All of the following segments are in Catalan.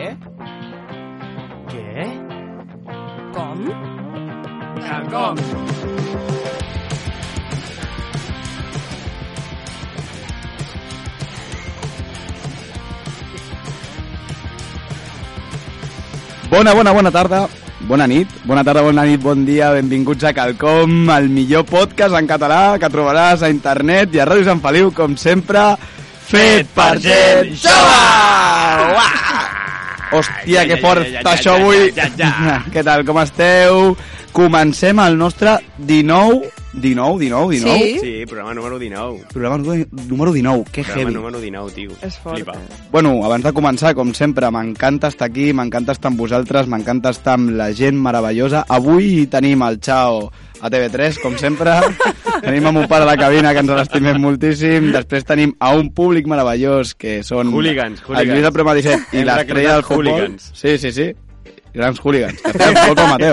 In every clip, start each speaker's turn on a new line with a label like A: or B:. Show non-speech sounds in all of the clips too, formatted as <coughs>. A: Ah, com.
B: Bona, bona, bona tarda, bona nit, bona tarda, bona nit, bon dia, benvinguts a Calcom, el millor podcast en català que trobaràs a internet i a Ràdio Sant Feliu, com sempre, fet per gent jove! Uah! Hòstia, que fort
C: ja,
B: això
C: ja,
B: avui!
C: ja, ja, ja.
B: <laughs> Què tal, com esteu? Comencem el nostre 19, 19, 19, 19?
D: Sí.
C: Sí, programa número 19.
B: Programa número- número 19, que
C: Programa
B: heavy.
C: número 19, tio.
D: És fort,
C: Flipa.
D: eh?
C: <laughs>
B: Bueno, abans de començar, com sempre, m'encanta estar aquí, m'encanta estar amb vosaltres, m'encanta estar amb la gent meravellosa. Avui tenim el Chao a TV3, com sempre. tenim a mon pare a la cabina, que ens l'estimem moltíssim. Després tenim a un públic meravellós, que són...
C: Hooligans,
B: El
C: hooligans.
B: Lluís del Prema 17 i
C: Hem
B: l'estrella del
C: reclutat
B: futbol.
C: hooligans.
B: Sí, sí, sí. Grans hooligans, que feien gol com Mateo.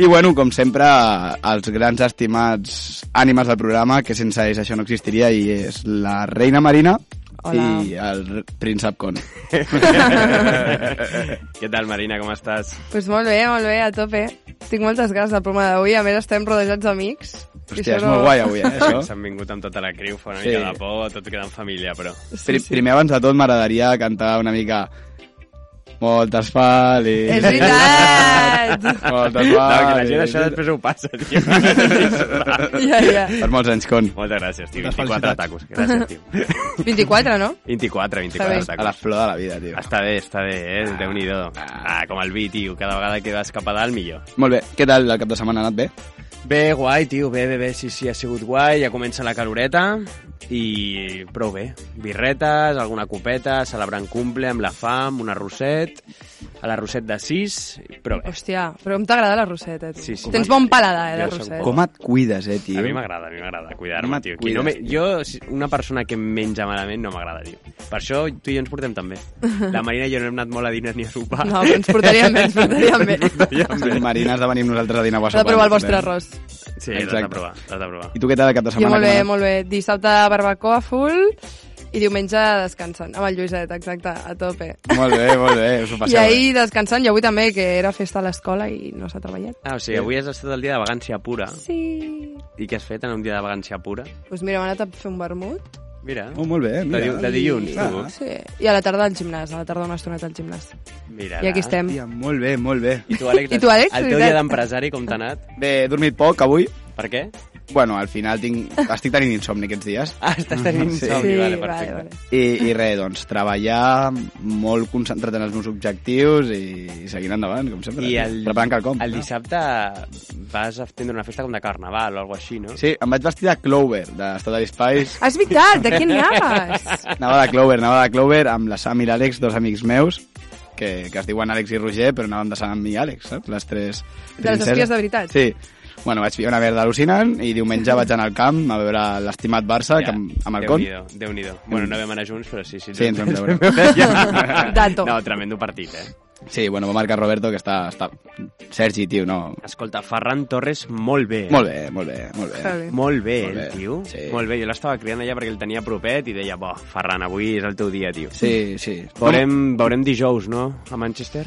B: I bueno, com sempre, els grans estimats ànimes del programa, que sense ells això no existiria, i és la reina Marina
D: Hola.
B: i el príncep Con.
C: Què tal, Marina, com estàs?
D: Pues molt bé, molt bé, a tope. Tinc moltes ganes del programa d'avui, a més estem rodejats d'amics. I
B: Hòstia, és
D: això no-
B: molt guai avui, eh, això.
C: S'han vingut amb tota la criu, fa una
B: Sí. Ah,
C: mica de por, tot queda en família, però...
B: Pri Primer, abans de tot, m'agradaria cantar una mica... Moltes falis...
D: És veritat!
B: <laughs>
D: <laughs>
B: Moltes falis...
C: No, que la gent això després ho passa,
B: <laughs>
C: tio.
D: ja, ja.
B: Per molts anys, Con.
C: Moltes gràcies, tio.
B: Moltes
C: 24
B: felicitats.
C: tacos. Gràcies,
B: <laughs>
C: tio.
D: 24, no?
C: 24, 24
D: Està
B: A
D: bé.
B: la
C: tacos.
B: flor de la vida, tio.
C: Està bé, està bé, eh? Déu-n'hi-do. Ah, com el vi, tio. Cada vegada que vas cap a dalt, millor.
B: Molt bé, què tal el cap de setmana? Ha anat bé?
C: Bé, guai, tio, bé, bé, bé, sí, sí, ha sigut guai, ja comença la caloreta i prou bé. Birretes, alguna copeta, celebrant cumple amb la fam, un arrosset, a l'arrosset de 6, però bé.
D: Hòstia, però em t'agrada la roseta, tu.
C: Sí, sí.
D: Tens bon paladar, eh, de
C: Jo soc
D: roseta.
C: bo.
B: Com et cuides, eh, tio?
C: A mi m'agrada, a mi m'agrada
B: No
C: cuidar-me,
B: et
C: tio. Qui no me...
B: cuides,
C: Jo, si- una persona que menja malament no m'agrada, tio. Per això tu i jo ens portem tan bé.
B: <laughs>
C: La Marina i jo no hem anat molt a dinar ni a sopar.
D: No, però ens portaríem bé, ens portaríem
C: <laughs>
D: bé.
B: Marina, has de venir amb nosaltres a dinar guassa.
D: Has de provar el vostre arròs.
C: Sí, l'has de
B: Exacte.
C: provar, l'has de provar.
B: I tu què tal el cap de
D: Jo
B: setmana?
D: molt
B: com ha
D: bé,
B: anat?
D: molt bé. Dissabte barbacoa full i diumenge descansant. Amb el Lluïset, exacte, a tope.
B: Molt bé, molt bé, us ho
D: I
B: passeu.
D: ahir descansant, i avui també, que era festa a l'escola i no s'ha treballat.
C: Ah, o sigui, avui has estat el dia de vagància pura.
D: Sí.
C: I què has fet en un dia de vagància pura?
D: Doncs mira, m'ha anat a fer un vermut.
C: Mira.
B: Oh, molt bé,
C: De, di
B: mira.
C: de dilluns,
B: Ah.
C: tu.
D: Sí. I a la tarda al gimnàs, a la tarda una estoneta al gimnàs.
C: Mira.
D: I aquí estem.
B: Hòstia, molt bé, molt bé.
C: I tu, Àlex,
D: I tu, Àlex,
C: el teu
D: veritat?
C: dia d'empresari com t'ha anat?
B: Bé, he dormit poc avui.
C: Per què?
B: Bueno, al final tinc... estic tenint insomni aquests dies.
C: Ah, estàs tenint
B: Sí.
C: insomni, vale,
D: vale,
C: perfecte.
D: vale.
B: I, i res, doncs, treballar molt concentrat en els meus objectius i, i seguint endavant, com sempre.
C: I el,
B: Preparant quelcom.
C: el dissabte vas a tindre una festa com de carnaval o alguna cosa així, no?
B: Sí, em vaig vestir de Clover, d'Estat de Spice.
D: Ah, és veritat, de què n'hi anaves?
B: Anava de Clover, anava de Clover amb la Sam i l'Àlex, dos amics meus, que, que es diuen Àlex i Roger, però anàvem de Sam i Àlex, saps? Les tres
D: De les espies de veritat.
B: Sí. Bueno, vaig pillar una merda al·lucinant i diumenge vaig anar al camp a veure l'estimat Barça ja, que amb, amb el con.
C: Déu-n'hi-do, déu nhi déu Bueno, no vam anar junts, però sí, sí.
B: Sí, ens
C: <laughs>
B: vam veure.
D: Tanto.
C: No, tremendo partit, eh?
B: Sí, bueno, va marcar Roberto, que està... està... Sergi, tio, no...
C: Escolta, Ferran Torres, molt bé.
B: Molt bé, molt bé, molt bé.
D: Javi.
C: Molt bé,
B: Molt bé,
C: molt bé. el tio.
B: sí.
C: Molt bé, jo l'estava criant allà perquè el tenia propet i deia, bo, Ferran, avui és el teu dia, tio.
B: Sí, sí.
C: Veurem, veurem dijous, no?, a Manchester.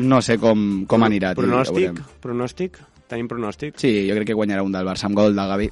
B: No sé com, com anirà, tio. ja
C: Pronòstic?
B: veurem.
C: Pronòstic? Tenim pronòstic?
B: Sí, jo crec que guanyarà un del Barça amb gol de Gavi.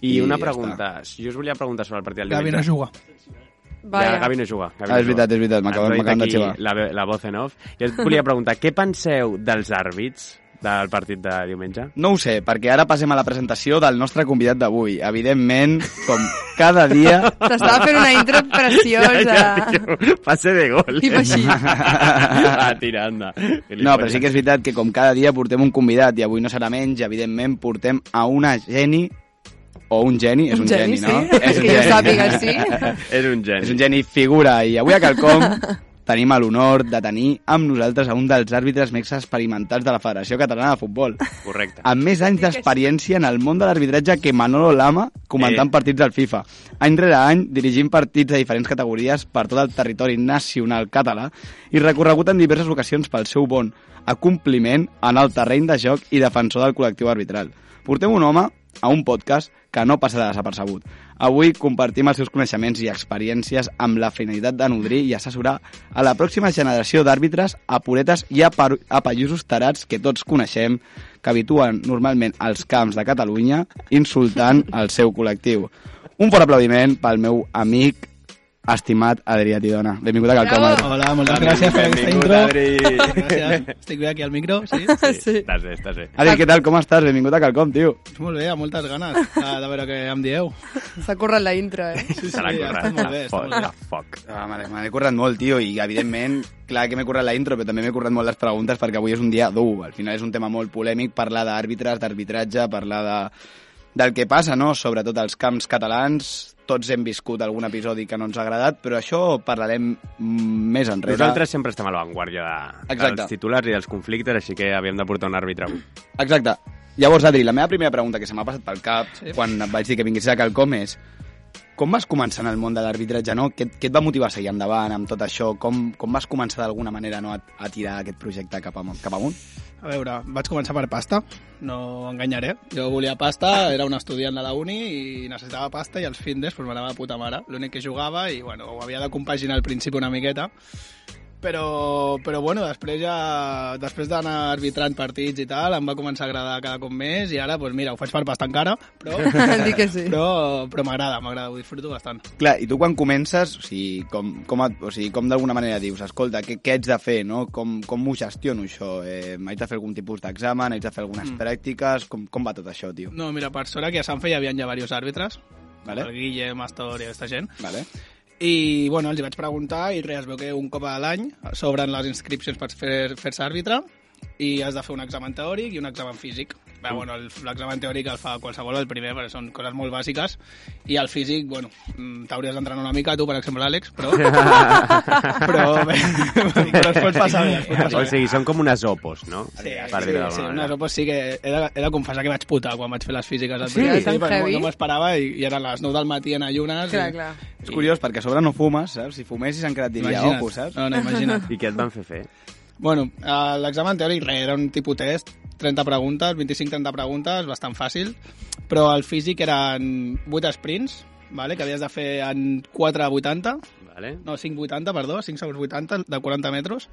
C: I,
B: I
C: una
B: ja
C: pregunta. Jo us volia preguntar sobre el partit del
E: Gavi
C: diumenge.
E: no juga.
C: Ja,
D: Vaja.
C: Gavi no juga. Gavi
B: Ah, és veritat, és veritat, m'acaben- m'acaben de xivar.
C: La, ve- la voz en off. Jo us volia preguntar, què penseu dels àrbits del partit de diumenge?
B: No ho sé, perquè ara passem a la presentació del nostre convidat d'avui. Evidentment, com cada dia...
D: T'estava fent una intro preciosa.
C: <laughs> tio, passe de gol.
D: Tip així.
C: <laughs> Va, tira, anda.
B: No, però sí que és veritat que com cada dia portem un convidat i avui no serà menys, evidentment portem a una geni o un geni, és un, geni, no?
D: Sí? És <laughs> que jo sàpiga, sí.
C: <laughs> És un geni.
B: És un geni figura i avui a Calcom
D: <laughs>
B: tenim l'honor de tenir amb nosaltres a un dels àrbitres més experimentats de la Federació Catalana de Futbol.
C: Correcte.
B: amb més anys d'experiència en el món de l'arbitratge que Manolo Lama comentant
C: Eh.
B: partits al FIFA. Any rere any, dirigint partits de diferents categories per tot el territori nacional català i recorregut en diverses ocasions pel seu bon acompliment en el terreny de joc i defensor del col·lectiu arbitral. Portem un home a un podcast que no passarà desapercebut. Avui compartim els seus coneixements i experiències amb la finalitat de nodrir i assessorar a la pròxima generació d'àrbitres, a puretes i a, paru- a països tarats que tots coneixem, que habituen normalment als camps de Catalunya, insultant el seu col·lectiu. Un fort aplaudiment pel meu amic, estimat Adrià Tidona. Benvingut a Calcom,
D: Bravo!
B: Adrià.
A: Hola, moltes gràcies per aquesta
C: Benvingut,
A: intro.
B: <laughs>
C: Adri.
A: Gràcies. Estic bé aquí al micro, sí?
D: Sí.
C: Estàs bé, estàs bé.
B: Adri, què tal? Com estàs? Benvingut a Calcom, tio.
A: Molt bé, amb moltes ganes de, de veure què em dieu.
D: S'ha currat la intro, eh?
A: Sí,
C: Se l'ha currat,
A: està molt bé, està
C: foc,
A: molt bé.
C: la foc.
B: Ah, me l'he- me l'he currat molt, tio, i evidentment, clar que m'he currat la intro, però també m'he currat molt les preguntes perquè avui és un dia dur. Al final és un tema molt polèmic, parlar d'àrbitres, d'arbitratge, parlar de, del que passa, no?, sobretot als camps catalans. Tots hem viscut algun episodi que no ens ha agradat, però això parlarem mm, més enrere.
C: Nosaltres sempre estem a l'avantguàrdia de,
B: Exacte.
C: dels titulars i dels conflictes, així que havíem de portar un àrbitre avui.
B: Exacte. Llavors, Adri, la meva primera pregunta que se m'ha passat pel cap sí.
A: Sí.
B: quan et vaig dir que vinguessis a Calcom és com vas començar en el món de l'arbitratge, no? Què, què et va motivar a seguir endavant amb tot això? Com, com vas començar d'alguna manera no, a, a tirar aquest projecte cap, am cap amunt?
A: A veure, vaig començar per pasta, no enganyaré. Jo volia pasta, era un estudiant de la uni i necessitava pasta i els findes pues, m'anava de puta mare. L'únic que jugava i bueno, ho havia de compaginar al principi una miqueta. Però, però bueno, després ja després d'anar arbitrant partits i tal, em va començar a agradar cada cop més i ara, pues mira, ho faig per pasta encara, però,
D: <laughs> Dic que sí.
A: però, però m'agrada, m'agrada, ho disfruto bastant.
B: Clar, i tu quan comences, o sigui, com, com, et, o sigui, com d'alguna manera dius, escolta, què, què haig de fer, no? Com, com ho gestiono, això? Eh, haig de fer algun tipus d'examen? Haig de fer algunes mm. pràctiques? Com, com va tot això, tio?
A: No, mira, per sort aquí a Sanfe hi havia ja diversos àrbitres,
B: Vale.
A: Mm. vale. el Guillem, Astor i aquesta gent,
B: Vale?
A: i bueno, els hi vaig preguntar i res, es veu que un cop a l'any s'obren les inscripcions per fer- fer-se àrbitre i has de fer un examen teòric i un examen físic. Bé, bueno, el- l'examen teòric el fa qualsevol, el primer, perquè són coses molt bàsiques, i el físic, bueno, mm, t'hauries d'entrenar una mica, tu, per exemple, Àlex, però... però <laughs> bé, però es pot passar bé. es pot
C: <laughs>
A: passar
C: O
A: bé.
C: sigui, són com unes opos, no?
A: Sí,
C: Per dir-ho
A: sí, sí,
C: d'alguna
A: una
C: manera.
A: sopa sí que he de, he de confessar que vaig putar quan vaig fer les físiques. al
C: Sí?
A: primer,
D: Tan
A: perquè
D: heavy?
A: no m'esperava i, i eren les 9 del matí en ayunes.
D: Clar,
A: i...
D: clar.
B: És curiós, perquè a sobre no fumes, saps? Si fumessis encara et diria,
A: Imagina't. Ah.
B: ojo, saps?
A: No, no,
B: <laughs>
A: imagina't.
C: I què et van fer fer?
A: bueno, eh, l'examen teòric res, era un tipus test, 30 preguntes, 25-30 preguntes, bastant fàcil, però el físic eren 8 sprints, vale, que havies de fer en 4 a 80,
C: Vale?
A: no, 5,80, perdó, 5 segons 80 de 40 metres,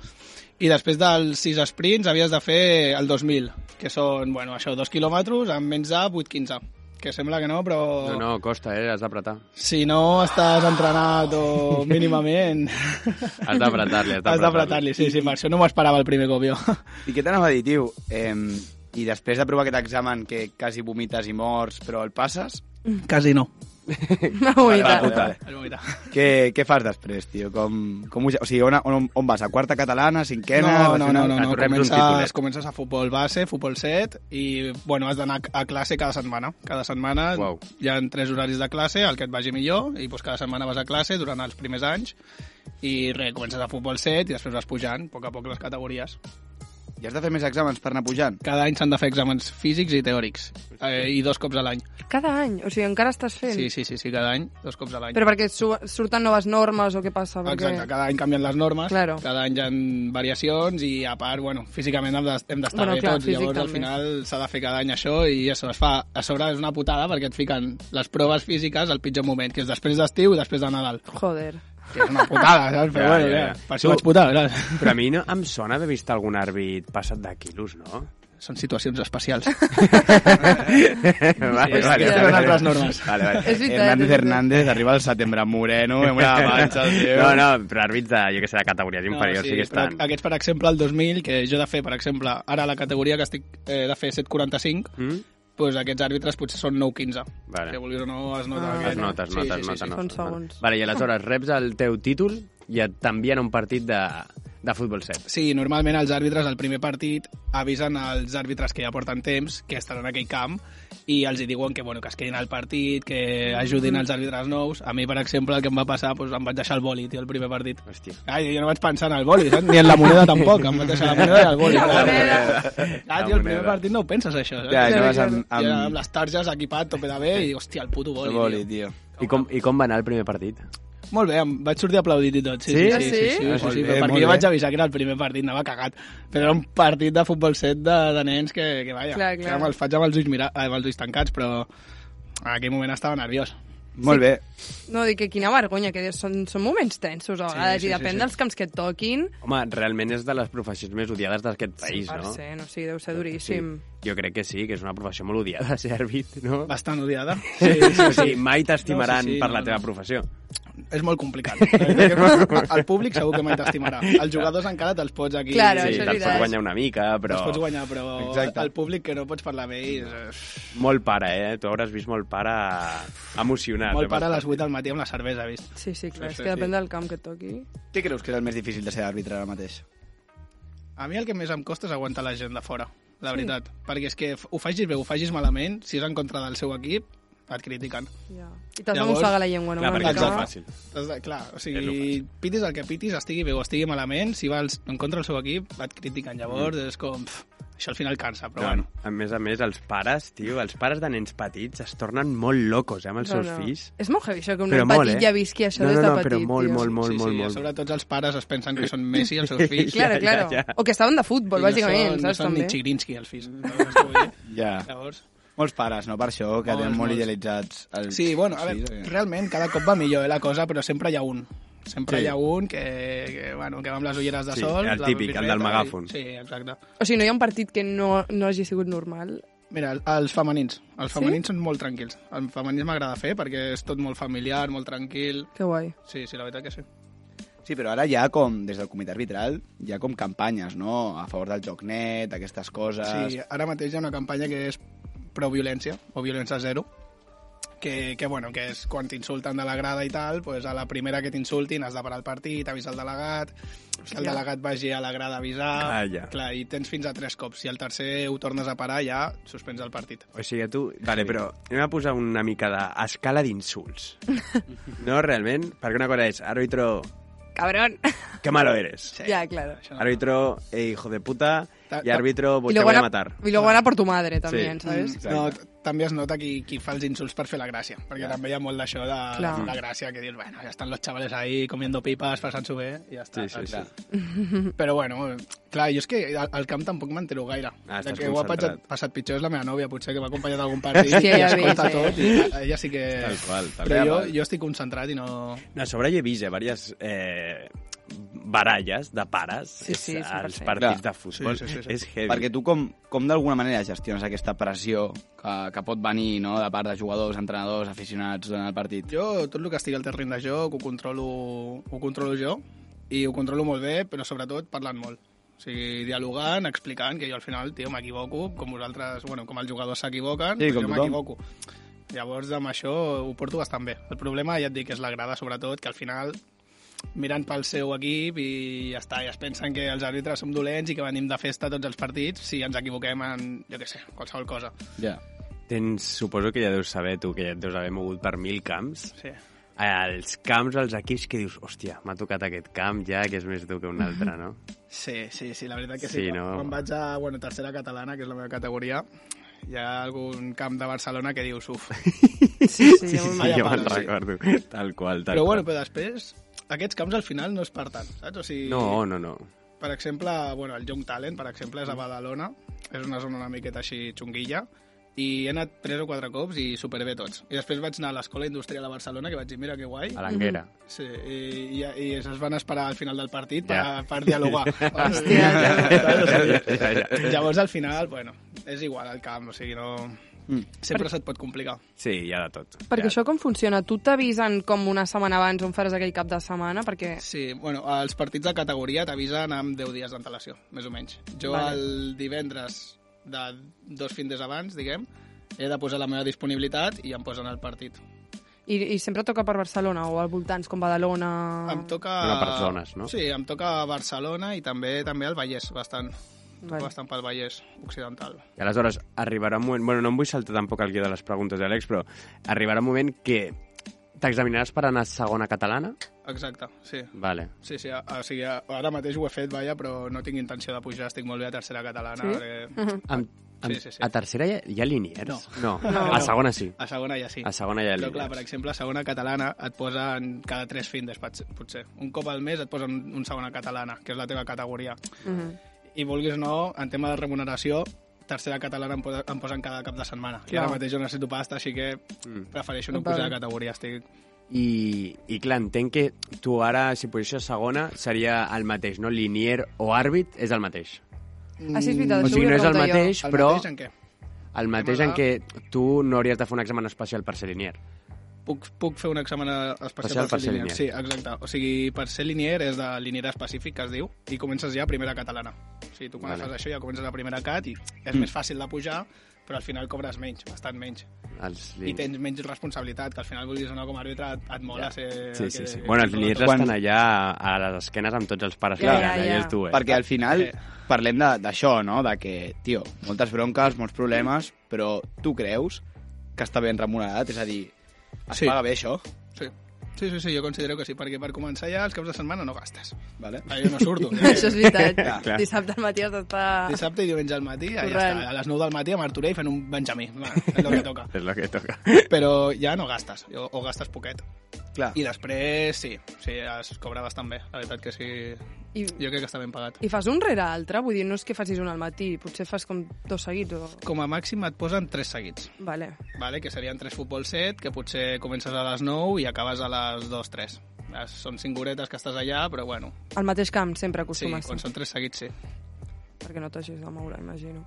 A: i després dels 6 sprints havies de fer el 2000, que són, bueno, això, 2 quilòmetres amb menys de 8,15, que sembla que no, però...
C: No, no, costa, eh? Has
A: <laughs>
C: d'apretar.
A: Si no estàs entrenat o mínimament,
C: Has d'apretar-li,
A: has d'apretar-li. Sí, sí, per això no m'ho esperava el primer cop jo.
B: I què t'anava a dir, tio? Eh, I després de provar aquest examen que quasi vomites i mors, però el passes,
A: Quasi no.
D: Una unitat.
B: puta.
A: És veritat.
B: què, què fas després, tio? Com, com, ho ge- o sigui, on, on, on vas? A quarta catalana, cinquena?
A: No, no, no,
B: regional?
A: no,
C: et
A: no.
C: reps un titulet.
A: Comences, comences a futbol base, futbol set, i bueno, has d'anar a classe cada setmana. Cada setmana
C: Uau.
A: hi ha tres horaris de classe, el que et vagi millor, i doncs, cada setmana vas a classe durant els primers anys, i res, comences a futbol set i després vas pujant, a poc a poc, les categories.
B: I has de fer més exàmens per anar pujant?
A: Cada any s'han de fer exàmens físics i teòrics, eh, i dos cops a l'any.
D: Cada any, o sigui, encara estàs fent.
A: Sí, sí, sí, sí, cada any, dos cops a l'any.
D: Però perquè su surten noves normes o què passa? Perquè...
A: Exacte, cada any canvien les normes,
D: Claro.
A: cada any hi ha variacions i a part, bueno, físicament hem de- hem d'estar
D: Bueno,
A: bé
D: clar,
A: tots,
D: físic
A: llavors al
D: també.
A: final s'ha de fer cada any això i això es fa, a sobre és una putada perquè et fiquen les proves físiques al pitjor moment, que és després d'estiu i després de Nadal,
D: Joder.
A: que és una putada, saps? Però
C: Ja,
A: bueno,
C: ja,
A: ja,
C: ja.
A: per això
C: Tu-
A: vaig putar, saps?
C: Però a mi no, em sona haver vist algun àrbit passat de quilos, no?
A: Són situacions
C: <laughs>
A: especials.
C: vale,
D: és que eren
A: altres normes.
C: Vale, vale.
D: És veritat, és
B: Hernández
D: veritat.
B: Hernández arriba al setembre moreno amb una
C: <laughs>
B: panxa, tio.
C: No, no, però àrbits de, jo que sé, de categories inferiors
A: sí,
C: sí que
A: però
C: estan.
A: Aquests, per exemple, el 2000, que jo he de fer, per exemple, ara la categoria que estic eh, de fer 745,
C: Mm?
A: doncs aquests àrbitres potser són 9-15.
C: Vale.
A: Que vulguis o no, es nota.
D: Ah.
A: que-
C: Es nota, es
A: Sí,
C: nota,
A: sí,
C: es
A: sí,
C: nota.
A: sí.
C: no,
D: Són
C: es nota.
D: segons.
C: Vale, i aleshores reps el teu títol i et t'envien a un partit de, de futbol set.
A: Sí, normalment els àrbitres al primer partit avisen als àrbitres que ja porten temps, que estaran en aquell camp, i els hi diuen que, bueno, que es quedin al partit, que ajudin els àrbitres nous. A mi, per exemple, el que em va passar, doncs, em vaig deixar el boli, tio, el primer partit.
C: Hòstia.
A: Ai, jo no vaig pensar en el boli, saps? ni en la moneda tampoc, em vaig deixar la moneda i el boli.
D: La
A: Clar,
D: moneda.
A: Clar, tio, el primer partit no ho penses, això.
B: Ja,
A: saps?
B: això vas amb...
A: I era amb
B: amb...
A: les targes equipat, tope de bé, i hòstia, el puto boli,
B: Boli,
A: tio.
B: tio.
C: I com, I com va anar el primer partit?
A: Molt bé, em vaig sortir aplaudit i tot. Sí, sí,
C: Sí?
A: sí, sí, sí,
D: Ah, sí?
A: sí, sí, sí,
B: Molt
A: sí
B: bé,
A: perquè
B: molt
A: jo vaig
B: bé.
A: avisar que era el primer partit, anava cagat. Però era un partit de futbol set de, de nens que, que vaja,
D: Clar,
A: que
D: clar.
A: amb els faig amb els ulls, mira, eh, amb els ulls tancats, però en aquell moment estava nerviós.
B: Molt bé.
D: No, dic que quina vergonya, que són, són moments tensos a vegades, sí, sí, i depèn sí, sí. dels camps que et toquin,
C: Home, realment és de les professions més odiades d'aquest país,
D: per
C: no?
D: cent, o sigui, deu ser duríssim.
C: Jo crec que sí, que és una professió molt odiada, <laughs> ser àrbit, no?
A: Bastant odiada.
C: Sí, sí, sí. Mai t'estimaran
A: No, sí, sí,
C: per
A: no,
C: la
A: no.
C: teva professió.
A: És molt <laughs> complicat. Eh, El públic segur que mai t'estimarà. Els jugadors encara te'ls pots aquí...
D: Claro, Però
C: sí,
D: això és
C: te'ls
D: veritat.
C: pots guanyar una mica, però...
A: Te'ls pots guanyar, però
B: Exacte.
A: el públic que no pots parlar bé i... eh,
C: Molt pare, eh? Tu hauràs vist molt pare emocionat.
A: Molt
C: eh,
A: pare a les
C: bastant.
A: 8 del matí amb la cervesa, vist?
D: Sí, sí, clar,
A: Sí,
D: és
A: sí,
D: que
A: sí.
D: depèn del camp que et toqui.
B: Què creus que és el més difícil de ser àrbitre ara mateix?
A: A mi el que més em costa és aguantar la gent de fora, la veritat. Perquè és que f- ho facis bé, ho facis malament, si és en contra del seu equip, et critiquen.
D: Ja. I t'has de
A: Llavors-
D: mossegar la llengua, no?
C: Clar,
D: Una
C: perquè és
D: mica.
C: molt fàcil.
A: Has de- Clar, o
C: És lo
A: sigui, pitis el que pitis, estigui bé o estigui malament, si vas en contra del seu equip, et critiquen. Llavors
C: Mm.
A: és com... pf, això al final cansa, però
C: Però,
A: bueno.
C: a més a més, els pares, tio, els pares de nens petits es tornen molt locos, eh, amb els
D: No,
C: seus
D: no.
C: fills.
D: És molt heavy, això, que un
C: Però
D: nen
C: molt,
D: petit
C: eh?
D: ja visqui això
C: no,
D: des de
C: no, no,
D: petit,
C: però molt,
D: tio.
C: molt, molt,
A: sí,
C: molt,
A: sí,
C: molt.
A: sobre tots els pares es pensen que són Messi,
C: <laughs>
A: els seus fills.
D: Claro,
C: Ja,
D: claro.
C: ja, ja.
D: O que estaven de futbol, bàsicament,
A: no són, no
D: saps,
A: són
D: també?
A: ni Chigrinsky, els
D: <laughs>
A: fills. No, és que vull dir.
B: Ja.
A: Llavors...
B: Molts pares, no? Per això, que
A: Molts,
B: tenen molt
A: molts.
B: idealitzats. El...
A: Sí, bueno, a veure,
B: sí.
A: realment cada cop va millor eh, la cosa, però sempre hi ha un. Sempre
B: Sí.
A: sí. hi ha un que, que, bueno, que va amb les ulleres de
C: Sí,
A: sol.
C: el
A: la
C: típic, el del
A: birreta,
C: megàfon.
A: i- Sí, exacte.
D: O sigui, no hi ha un partit que no, no hagi sigut normal.
A: Mira, el- els femenins. Els femenins són molt tranquils. El femenins m'agrada fer perquè és tot molt familiar, molt tranquil.
D: Que guai.
A: Sí, sí, la veritat que sí.
B: sí, però ara ja com, des del comitè arbitral, hi ha com campanyes, no? A favor del joc net, aquestes coses...
A: Sí, ara mateix hi ha una campanya que és prou violència, o violència zero, que, que, bueno, que és quan t'insulten de la grada i tal, pues a la primera que t'insultin has de parar el partit, avisar el delegat, que el
D: Hòstia.
A: delegat vagi a la grada a avisar...
C: Clar, Ah, ja.
A: Clar, i tens fins a tres cops. Si el tercer ho tornes a parar, ja suspens el partit.
C: O sigui, tu... Vale, però anem a posar una mica d'escala
D: <laughs>
C: d'insults. No, realment? Perquè una cosa és, árbitro,
D: Cabrón.
C: que malo eres.
A: Sí.
D: <laughs> Ja, claro.
A: Això no.
C: Árbitro, eh, hijo de puta,
A: Ta-
C: y
A: ta-
C: árbitro,
D: Y
C: pues te
D: luego,
C: voy a
D: Ana-
C: matar.
D: y luego Ana por tu madre también,
C: Sí.
D: ¿sabes?
C: Mm.
A: No, t- també es nota qui, qui fa els insults per fer la gràcia, perquè també hi ha molt d'això de,
D: Clar.
A: de la gràcia, que dius, bueno, ja estan los chavales ahí comiendo pipas, passant-s'ho bé, i ja està.
C: Sí,
D: Ah,
C: sí,
A: saps?
C: sí.
A: Però bueno, clar, jo és que al, al camp tampoc m'entero gaire.
C: Ah,
A: De
C: estàs
A: que ho ha
C: concentrat.
A: passat, passat pitjor és la meva nòvia, potser que m'ha acompanyat a
D: <laughs>
A: algun partit
D: Sí,
A: i
D: ja
A: escolta
D: veig,
A: tot. I a- ella sí que...
C: Tal qual, tal
A: Però jo,
C: qual.
A: jo estic concentrat i no...
C: No, a sobre jo he vist eh, diverses eh, baralles de pares
D: Sí, sí,
C: als
D: 100%.
C: partits
B: Clar.
C: de futbol.
A: Sí, sí, sí, sí.
C: És heavy.
B: Perquè tu com, com d'alguna manera gestiones aquesta pressió que, que pot venir no? de part de jugadors, entrenadors, aficionats durant el partit?
A: Jo, tot el que estigui al terreny de joc, ho controlo, ho controlo jo, i ho controlo molt bé, però sobretot parlant molt. O sigui, dialogant, explicant, que jo al final, tio, m'equivoco, com vosaltres, bueno, com els jugadors s'equivoquen,
B: Sí, com
A: doncs jo
B: tothom.
A: m'equivoco. Llavors, amb això ho porto bastant bé. El problema, ja et dic, és la grada, sobretot, que al final miren pel seu equip i ja està, i es pensen que els àrbitres som dolents i que venim de festa tots els partits si ens equivoquem en, jo què sé, qualsevol cosa.
B: Ja.
C: Tens, suposo que ja deus saber, tu, que ja et deus haver mogut per mil camps.
A: Sí.
C: Els camps, els equips que dius, hòstia, m'ha tocat aquest camp ja, que és més dur que un altre, no?
A: Sí, sí, sí, la veritat que
C: Sí,
A: sí. quan,
C: no?
A: quan vaig a bueno, tercera catalana, que és la meva categoria, hi ha algun camp de Barcelona que dius, uf.
D: Sí, <laughs> sí,
C: sí,
A: Vaya
C: jo me'n
A: palo, sí.
C: recordo. Tal qual, tal
A: Però
C: qual.
A: bueno, però després, aquests camps al final no es parten, saps? O sigui,
C: No, no,
D: <laughs>
C: no.
A: per exemple, bueno, el Young Talent, per exemple, és a Badalona, és una zona una miqueta així xunguilla, i he anat tres o quatre cops i superbé tots. I després vaig anar a l'Escola Industrial de Barcelona, que vaig dir, mira que guai, Mm-hmm.
C: A l'Anguera.
A: Sí, i, i, i es van esperar al final del partit per,
C: Ja.
A: per
C: <laughs>
A: dialogar. <laughs>
D: Hòstia.
C: ja, ja.
A: Llavors, al final, bueno, és igual al camp, o sigui, no...
B: Mm.
A: Sempre se't pot complicar.
C: Sí, hi ha de tot.
D: Perquè
C: Hi ha-
D: això com funciona? Tu t'avisen com una setmana abans on faràs aquell cap de setmana? Perquè...
A: Sí, bueno, els partits de categoria t'avisen amb 10 dies d'antelació, més o menys. Jo
D: Vale.
A: el divendres de dos findes abans, diguem, he de posar la meva disponibilitat i em posen el partit.
D: I, I sempre toca per Barcelona o al voltants com Badalona...
A: Em toca...
C: Ah. Una per zones, no?
A: Sí, em toca Barcelona i també també el Vallès, bastant.
D: Vale.
A: Bastant pel Vallès Occidental.
C: I aleshores arribarà un moment... Bueno, no em vull saltar tampoc el guió de les preguntes d'Àlex, però arribarà un moment que t'examinaràs per anar a segona catalana?
A: Exacte, sí.
C: Vale.
A: Sí, sí, a- o sigui, a- ara mateix ho he fet, vaja, però no tinc intenció de pujar, estic molt bé a tercera catalana.
D: Sí?
A: perquè-
C: Amb, Amb-
A: Sí, sí, sí.
C: A tercera hi ha, hi ha liniers? No.
D: No.
C: A segona sí.
A: A segona ja sí.
C: A segona hi ha
A: Però
C: liniers.
A: clar, per exemple, a segona catalana et posen cada tres findes, pot- potser. Un cop al mes et posen un segona catalana, que és la teva categoria.
D: Mhm.
A: I vulguis o no, en tema de remuneració, tercera catalana em, posa, em posen cada cap de setmana. I
D: Clar.
A: ara mateix jo necessito pasta, així que
C: Mm.
A: prefereixo no
D: Total.
A: pujar de categoria. Estic...
C: I, I clar, entenc que tu ara, si posicions segona, seria el mateix, no? Linier o àrbit és el mateix.
D: Ah, sí, és veritat,
C: O
D: això
C: sigui,
D: ho
C: no és Mm, el
D: preguntar jo.
C: mateix,
A: El
C: però
A: mateix en què?
C: el mateix en què tu no hauries de fer un examen especial per ser linier.
A: Puc, puc fer un examen especial per ser linier. Sí, exacte. O sigui, per ser linier és de linier específic, que es diu, i comences ja a primera catalana. O sigui, tu quan
C: Vale. Mm.
A: fas això ja comences a primera cat i és més fàcil de pujar, però al final cobres menys, bastant menys.
C: Els
A: I
C: liniers.
A: tens menys responsabilitat, que al final vulguis anar com a àrbitre, et, et mola
C: Ja.
A: ser... el
C: Sí,
A: que-
C: sí, sí. Bueno, els liniers
B: Quan-
C: estan allà a les esquenes amb tots els pares
D: Ja,
C: que
D: ja,
C: tenen,
D: ja.
C: i el tu, eh?
B: Perquè al final
A: Eh.
B: parlem de- d'això, no? De que, tio, moltes bronques, molts problemes, però tu creus que està ben remunerat? És a dir, es
A: Sí.
B: paga bé això?
A: Sí. Sí, sí, sí, jo considero que sí, perquè per començar ja els caps de setmana no gastes.
C: <laughs>
B: Vale?
A: Ah, Jo no surto.
D: <laughs> Això és veritat.
A: <laughs>
C: clar.
D: Dissabte al matí has d'estar...
A: Dissabte i diumenge al matí, allà
D: Corrent.
A: està, a les 9 del matí a Martorell fent un benjamí. Va, és el que toca.
C: <laughs> És el que toca.
A: Però ja no gastes, o, o gastes poquet.
B: Clar.
A: I després, sí, sí, es cobra bastant bé. La veritat que sí,
D: I,
A: jo crec que està ben pagat.
D: I fas un rere altre? Vull dir, no és que facis un al matí, potser fas com dos seguits o...
A: Com a màxim et posen 3 seguits,
D: Vale.
A: vale? que serien 3 futbol 7, que potser comences a les 9 i acabes a les 2-3. Són 5 horetes que estàs allà, però bueno,
D: Al mateix camp sempre
A: sí,
D: acostumes,
A: quan són 3 seguits, sí.
D: perquè no t'hagis de moure, imagino.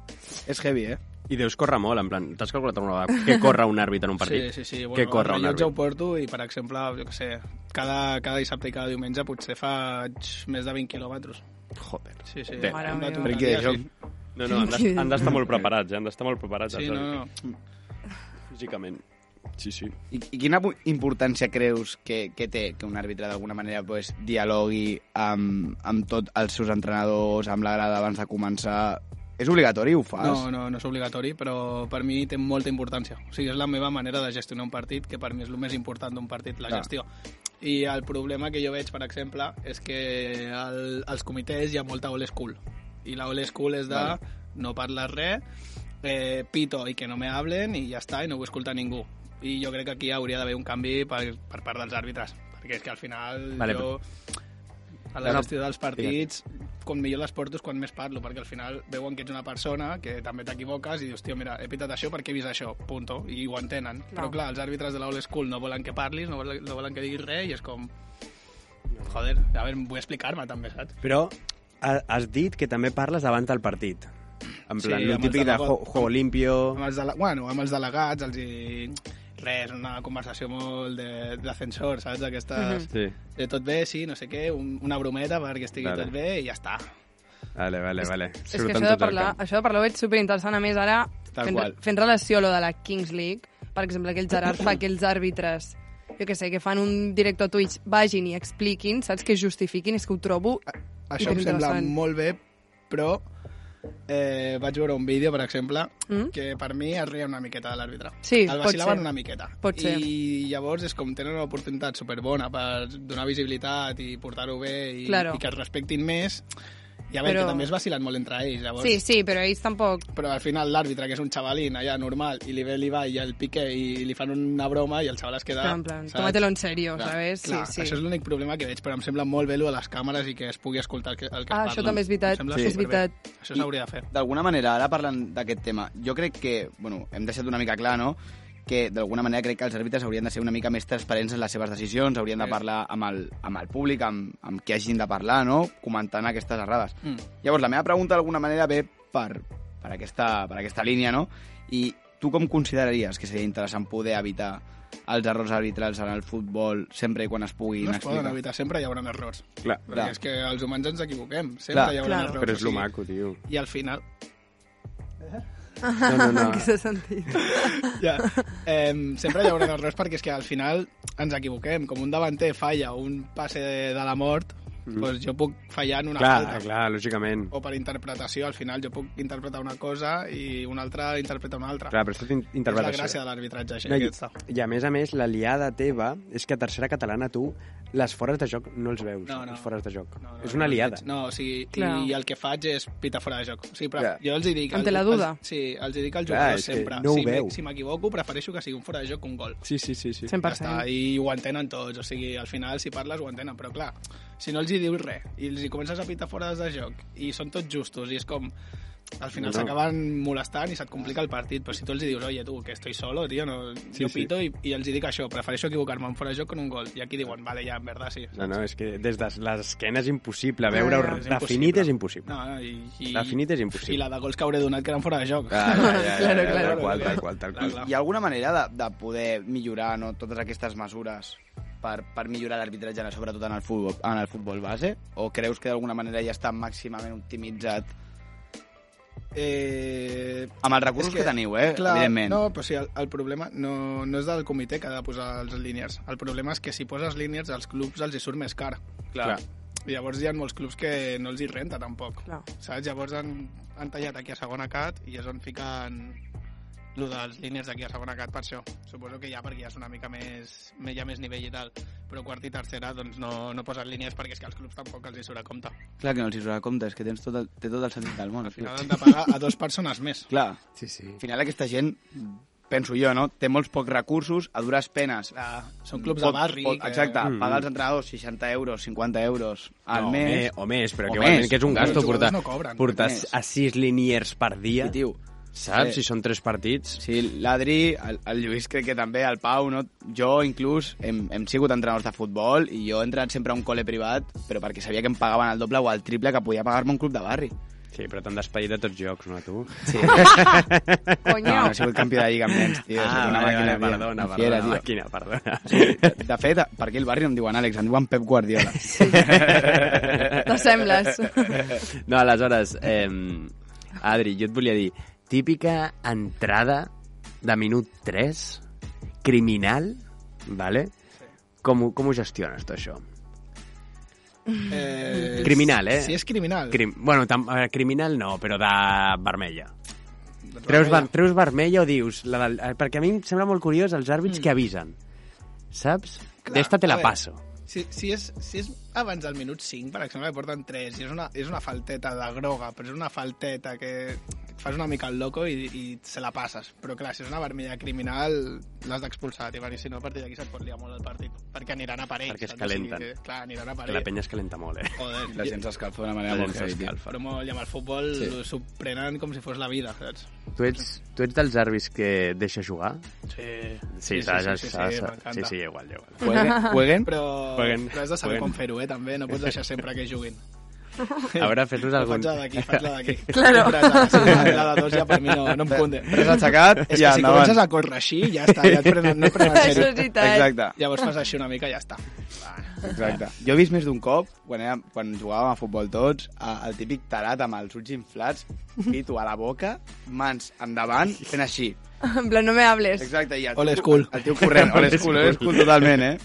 B: És heavy, eh?
C: I deus córrer molt, en plan, t'has calculat alguna vegada què corre un àrbit en un partit?
A: Sí, sí, sí.
C: què corre un
A: jo ja ho
C: àrbit?
A: porto i, per exemple, jo què sé, cada, cada dissabte i cada diumenge potser faig més de 20 quilòmetres.
C: Joder.
A: Sí, sí.
C: Bé.
D: Mare
A: Em va
D: meva.
A: tornar
B: Perquè
A: a
B: jo-
A: dir, sí.
C: No, no, han d'est- han d'estar molt preparats, eh? han d'estar molt preparats.
A: Sí,
C: els
A: no,
C: àrbits,
A: no.
C: Físicament. Sí, sí.
B: I, I quina pu- importància creus que, que té que un àrbitre d'alguna manera pues, dialogui amb, amb tots els seus entrenadors, amb la grada abans de començar? És obligatori, ho fas?
A: No, no, no és obligatori, però per mi té molta importància. O sigui, és la meva manera de gestionar un partit, que per mi és el més important d'un partit, la
B: Clar.
A: gestió. I el problema que jo veig, per exemple, és que el, als comitès hi ha molta old school. I la old school és de vale. no parles res, eh, pito i que no me hablen i ja està, i no ho escolta ningú. I jo crec que aquí hauria d'haver un canvi per, per part dels àrbitres, perquè és que al final
C: Vale,
A: vale, jo... A
C: No,
A: la
C: no,
A: gestió dels partits, com millor les porto és quan més parlo, perquè al final veuen que ets una persona que també t'equivoques i dius, tio, mira, he pitat això perquè he vist això, punto, i ho entenen.
D: Clar.
A: Però clar, els àrbitres de l'Old School no volen que parlis, no volen, no volen que diguis res, i és com... Joder, a veure, vull explicar-me també, saps?
C: Però ha- has dit que també parles davant del partit. En
A: Sí,
C: plan,
A: amb
C: el
A: els
C: típic
A: de
C: de
A: la-
C: jo- juego limpio...
A: Amb els, dele... bueno, amb els delegats els hi... Res, una conversació molt de- d'ascensor, saps? Aquestes...
C: Sí,
A: De tot bé, sí, no sé què, un, una brometa perquè estigui
C: Vale.
A: tot bé i ja està.
C: vale, vale, vale.
D: És que això de, parlar, això de parlar ho veig superinteressant, a més ara
B: Tal
D: fent,
B: qual.
D: fent relació a lo de la Kings League, per exemple, que el Gerard
A: <coughs>
D: fa que els àrbitres, jo que sé, que fan un directe a Twitch, vagin i expliquin, saps, que justifiquin, és que ho trobo...
A: Ah, Això em sembla
D: Superinteressant.
A: molt bé, però eh, vaig veure un vídeo, per exemple,
D: Mm?
A: que per mi es reia una miqueta de l'àrbitre.
D: Sí,
A: El
D: pot ser.
A: vacilaven una miqueta.
D: Pot ser.
A: I llavors és com tenen una oportunitat superbona per donar visibilitat i portar-ho bé i,
D: Claro.
A: i que es respectin més. I a veure,
D: Però-
A: que també es vacilen molt entre ells, llavors.
D: Sí, sí, però ells tampoc...
A: Però al final l'àrbitre, que és un xavalín allà normal, i li ve l'Ibai i el Piqué i li fan una broma i el xaval es queda...
D: Clar, en plan,
A: saps?
D: tómatelo en serio,
A: Clar,
D: ¿sabes? Sí,
A: clar,
D: sí.
A: Això és l'únic problema que veig, però em sembla molt bé lo de les càmeres i que es pugui escoltar el que, el que
D: Ah,
A: parlen.
D: això també és
A: Em
D: veritat,
A: sembla
D: sí. és
A: superbé.
D: veritat.
A: Això s'hauria de fer.
B: D'alguna manera, ara parlant d'aquest tema, jo crec que, bueno, hem deixat una mica clar, no?, que d'alguna manera crec que els àrbitres haurien de ser una mica més transparents en les seves decisions, haurien de
A: Sí.
B: parlar amb el, amb el públic, amb, amb qui hagin de parlar, no?, comentant aquestes errades.
A: Mm.
B: Llavors, la meva pregunta d'alguna manera ve per, per, aquesta, per aquesta línia, no? I tu com consideraries que seria interessant poder evitar els errors arbitrals en el futbol sempre i quan es puguin
A: No es poden
B: explicar?
A: evitar, sempre hi haurà errors.
C: Clar,
A: Perquè és que els humans ens equivoquem, sempre
B: Clar.
A: hi haurà
D: Clar.
A: errors.
C: però és lo
A: o sigui,
C: maco,
A: <laughs>
C: tio.
A: I al
D: <laughs>
A: final...
C: No, no,
A: Ah. <laughs>
C: no.
D: que s'ha sentit.
A: Ja, eh, sempre hi haurà errors perquè és que al final ens equivoquem. Com un davanter falla un passe de la mort,
C: Mhm.
A: doncs jo puc fallar en una
C: Clar,
A: falta.
C: clar, lògicament.
A: O per interpretació, al final jo puc interpretar una cosa i un altre interpreta una altra.
C: Clar, però és tot in-
A: és la
C: interpretació.
A: gràcia de l'arbitratge, així
C: No,
A: no,
C: i,
A: aquesta.
C: I a més a més, la liada teva és que a tercera catalana tu les fores de joc no els veus,
A: No, no.
C: els fores de joc.
A: No, no,
C: és una
A: no,
C: aliada.
A: No, o sigui,
D: Clar.
A: i el que faig és pitar fora de joc. O sigui, però
C: Ja.
A: jo els hi dic...
D: Em
A: al-
D: té la duda.
A: als- sí, els hi dic als
C: Clar,
A: jugadors
C: és que
A: sempre.
C: no ho
A: si m'e-
C: veu.
A: si m'equivoco, prefereixo que sigui un fora de joc que un gol.
C: Sí, sí, sí. sí.
D: 100%.
A: Ja està, i ho entenen tots, o sigui, al final si parles ho entenen, però clar, si no els hi dius res i els hi comences a pitar fora de joc i són tots justos i és com al final
C: No.
A: no. s'acaben molestant i se't complica el partit, però si tu els hi dius, oye, tu, que estoy solo, tío, no,
C: Sí,
A: sí, jo
C: sí.
A: pito sí. i, i els hi dic això, prefereixo equivocar-me en fora de joc que en un gol, i aquí diuen, vale, ja, en verdad, sí.
C: No, no, és que des de l'esquena és impossible.
D: Ja,
C: Veure
D: ja,
A: és
C: definit és impossible.
A: No, no, i, i,
C: Definit és
A: i
C: impossible.
A: la de gols que hauré donat que eren fora de joc.
B: Clar, Ah, ja, ja,
D: <laughs> Claro,
B: ja,
D: claro.
B: Tal qual, tal qual, tal
A: Clar,
B: qual.
A: clar.
B: Hi ha alguna manera de, de poder millorar no, totes aquestes mesures per, per millorar l'arbitratge, sobretot en el, futbol, en el futbol base? O creus que d'alguna manera ja està màximament optimitzat
A: Eh,
B: amb els recursos
A: És
B: que,
A: que,
B: que teniu, eh?
A: Clar,
B: evidentment.
A: No, però sí, el, el problema no, no és del comitè que ha de posar els líniers. El problema és que si poses líniers, als clubs els hi surt més car.
B: Clar.
A: I llavors hi ha molts clubs que no els hi renta, tampoc.
D: Clar.
A: Saps? Llavors han, han tallat aquí a segona cat i és on fiquen el dels líniers d'aquí a segona cat per això. Suposo que ja perquè ja és una mica més, me- hi ha més nivell i tal. Però quart i tercera doncs no, no posen líniers perquè és que als clubs tampoc els hi surt a compte.
B: Clar que no els hi surt a compte, és que tens tot el, té tot el sentit del món.
A: Al final han de pagar a dos persones més.
B: Clar,
C: Sí, sí.
B: al final aquesta gent, penso jo, no? té molts pocs recursos, a dures penes.
A: Clar, són clubs de barri. que-
B: Exacte,
C: Mm.
B: pagar als entrenadors 60 euros, 50 euros al
C: No,
B: mes.
C: o, més, o més, però
B: Eh, O
C: que igualment
B: més.
C: que és un
A: Els
C: gasto
A: jugadors
C: portar,
A: no cobren.
C: portar
B: Més.
C: a sis liniers per dia,
B: I, tio,
C: saps?
B: Sí.
C: Si són tres partits.
B: Sí, l'Adri, el, el Lluís crec que també, el Pau, no? jo inclús hem, hem sigut entrenadors de futbol i jo he entrat sempre a un col·le privat però perquè sabia que em pagaven el doble o el triple que podia pagar-me un club de barri.
C: Sí, però t'han despedit de tots jocs, no, tu?
B: Sí. No,
D: Coño.
B: no
A: Ah,
B: Ah, he sigut campió de lliga amb nens, tio. soc una
C: Ah, vale,
B: màquina,
C: vale,
B: tio.
C: perdona,
B: Una
C: perdona,
B: fiera, tio.
C: màquina, perdona.
B: Sí, de fet, per aquí el barri no em diuen Àlex, em diuen Pep Guardiola.
A: <laughs>
D: T'assembles.
C: No, aleshores, eh, Adri, jo et volia dir, típica entrada de minut 3, criminal, vale? Com, ho- com ho gestiones, tu, això?
A: Eh,
C: Criminal, eh?
A: Si és criminal.
C: Crim, bueno, tam, eh, criminal no, però de vermella.
A: Doncs
C: Treus, ver,
A: vermella.
C: treus vermella o dius... La del, eh, perquè a mi em sembla molt curiós els àrbits mm. que avisen. Saps?
A: Clar,
C: D'esta te
A: a
C: la
A: veure.
C: passo.
A: Si, si, és, si és abans del minut 5, per exemple, que porten 3, i és una, és una falteta de groga, però és una falteta que et fas una mica el loco i, i se la passes. Però clar, si és una vermella criminal, l'has d'expulsar, tio, perquè si no a partir d'aquí se't pot liar molt el partit, perquè aniran a parell.
C: Perquè es
A: saps? O sigui
C: calenten.
A: que, clar, aniran a
C: Que
A: parell.
C: la penya es calenta molt, eh?
A: Joder,
B: La gent s'escalfa d'una manera
C: La
B: molt
C: gent
B: heavy, tio.
C: s'escalfa.
A: però molt, i amb el futbol
B: Sí.
A: sí. s'ho prenen com si fos la vida, saps?
C: Tu ets, tu ets dels àrbits que deixa jugar?
A: Sí,
C: Sí, s'ha- s'ha-
A: sí,
C: s'ha-
A: sí, sí,
C: s'ha- sí,
A: m'encanta.
C: sí, igual, igual.
B: Jueguen, jueguen,
A: Però,
C: Paguen.
A: però has de saber
C: Paguen.
A: com fer-ho, eh, també. No pots deixar sempre que juguin.
C: A veure, fes-nos
A: Jo
C: algun...
A: Faig <laughs> la d'aquí, faig la
B: <laughs>
A: d'aquí.
D: Claro.
A: Sempre, la de dos ja per mi no, no em conde.
B: Tres aixecat
A: És que
B: i
A: si
B: endavant.
A: comences a córrer així, ja està, ja et prenen, no et prenen en
D: <laughs>
B: <laughs>
D: Això
A: sèrio.
D: és veritat.
B: Exacte.
A: Llavors fas així una mica i ja està.
B: Exacte. Jo he vist més d'un cop, quan, era, quan jugàvem a futbol tots, a- el típic tarat amb els ulls inflats, pito a la boca, mans endavant, fent així.
D: En plan, no me hables.
B: Exacte. I el,
A: Old
B: tio-
A: school.
B: El tio corrent. Old school, old school totalment, eh?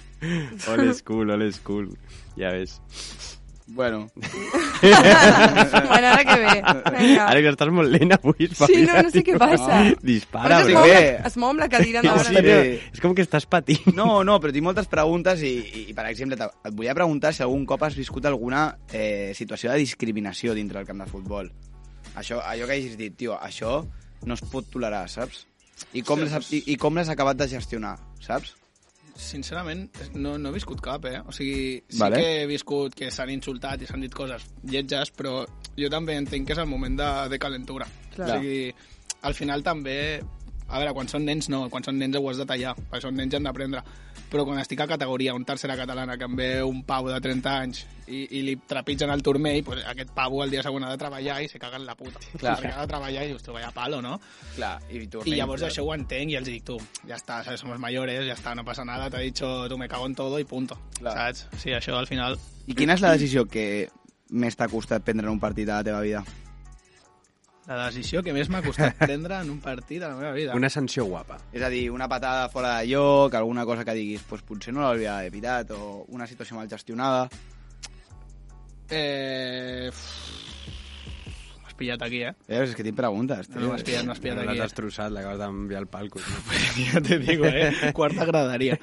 C: Old school, old school. Ja ves.
B: Bueno,
D: <laughs> Bueno, ara que ve. Vinga.
C: Àlex, estàs molt lent avui. és
D: Sí, no,
C: familiar,
D: no sé què
C: tio.
D: passa.
C: Dispara,
D: Però
B: sí,
D: es,
C: bro.
D: mou
B: bé.
D: la, es mou amb la cadira
C: Sí,
D: endavant.
C: sí, eh.
B: no.
C: no. És com que estàs <laughs> patint.
B: no, no, però tinc moltes preguntes i, i, i per exemple, te- et volia preguntar si algun cop has viscut alguna eh, situació de discriminació dintre del camp de futbol. Això, allò que hagis dit, tio, això no es pot tolerar, saps? I com
A: Sí,
B: l'has- i, i com l'has acabat de gestionar, saps?
A: Sincerament, no, no he viscut cap, eh? O sigui, sí
B: Vale.
A: vale. que he viscut que s'han insultat i s'han dit coses lletges, però jo també entenc que és el moment de, de calentura.
D: Clar.
A: O sigui, al final també... A veure, quan són nens no, quan són nens ho has de tallar, perquè són nens i han d'aprendre. Però quan estic a categoria, un tercera catalana, que em ve un pavo de 30 anys i, i li trepitgen el turmell, pues aquest pavo el dia següent ha de treballar i se caga en la puta.
B: Clar.
A: Perquè ha de treballar i dius, tu, vaya palo, no?
B: Clar, i, eh?
A: I llavors això ho entenc i els dic, tu, ja està, saps, somos mayores, ja està, no passa nada, t'he dicho, tu me cago en todo i punto,
B: Clar.
A: saps? Sí, això al final...
B: I quina és la decisió que més t'ha costat prendre en un partit a la teva vida?
A: La decisió que més m'ha
B: <laughs>
A: costat prendre en un partit a la meva vida.
C: Una sanció guapa.
B: És a dir, una patada fora de lloc, alguna cosa que diguis, pues, potser no l'hauria d'haver pitat, o una situació mal gestionada...
A: Eh... uf, M'has pillat aquí, eh?
B: Eh, és que tinc preguntes, tio.
A: No, no m'has pillat, no m'has pillat
C: L'has
A: aquí. Eh?
C: destrossat, l'acabes d'enviar al palco.
A: Ja te digo, eh? Quart agradaria.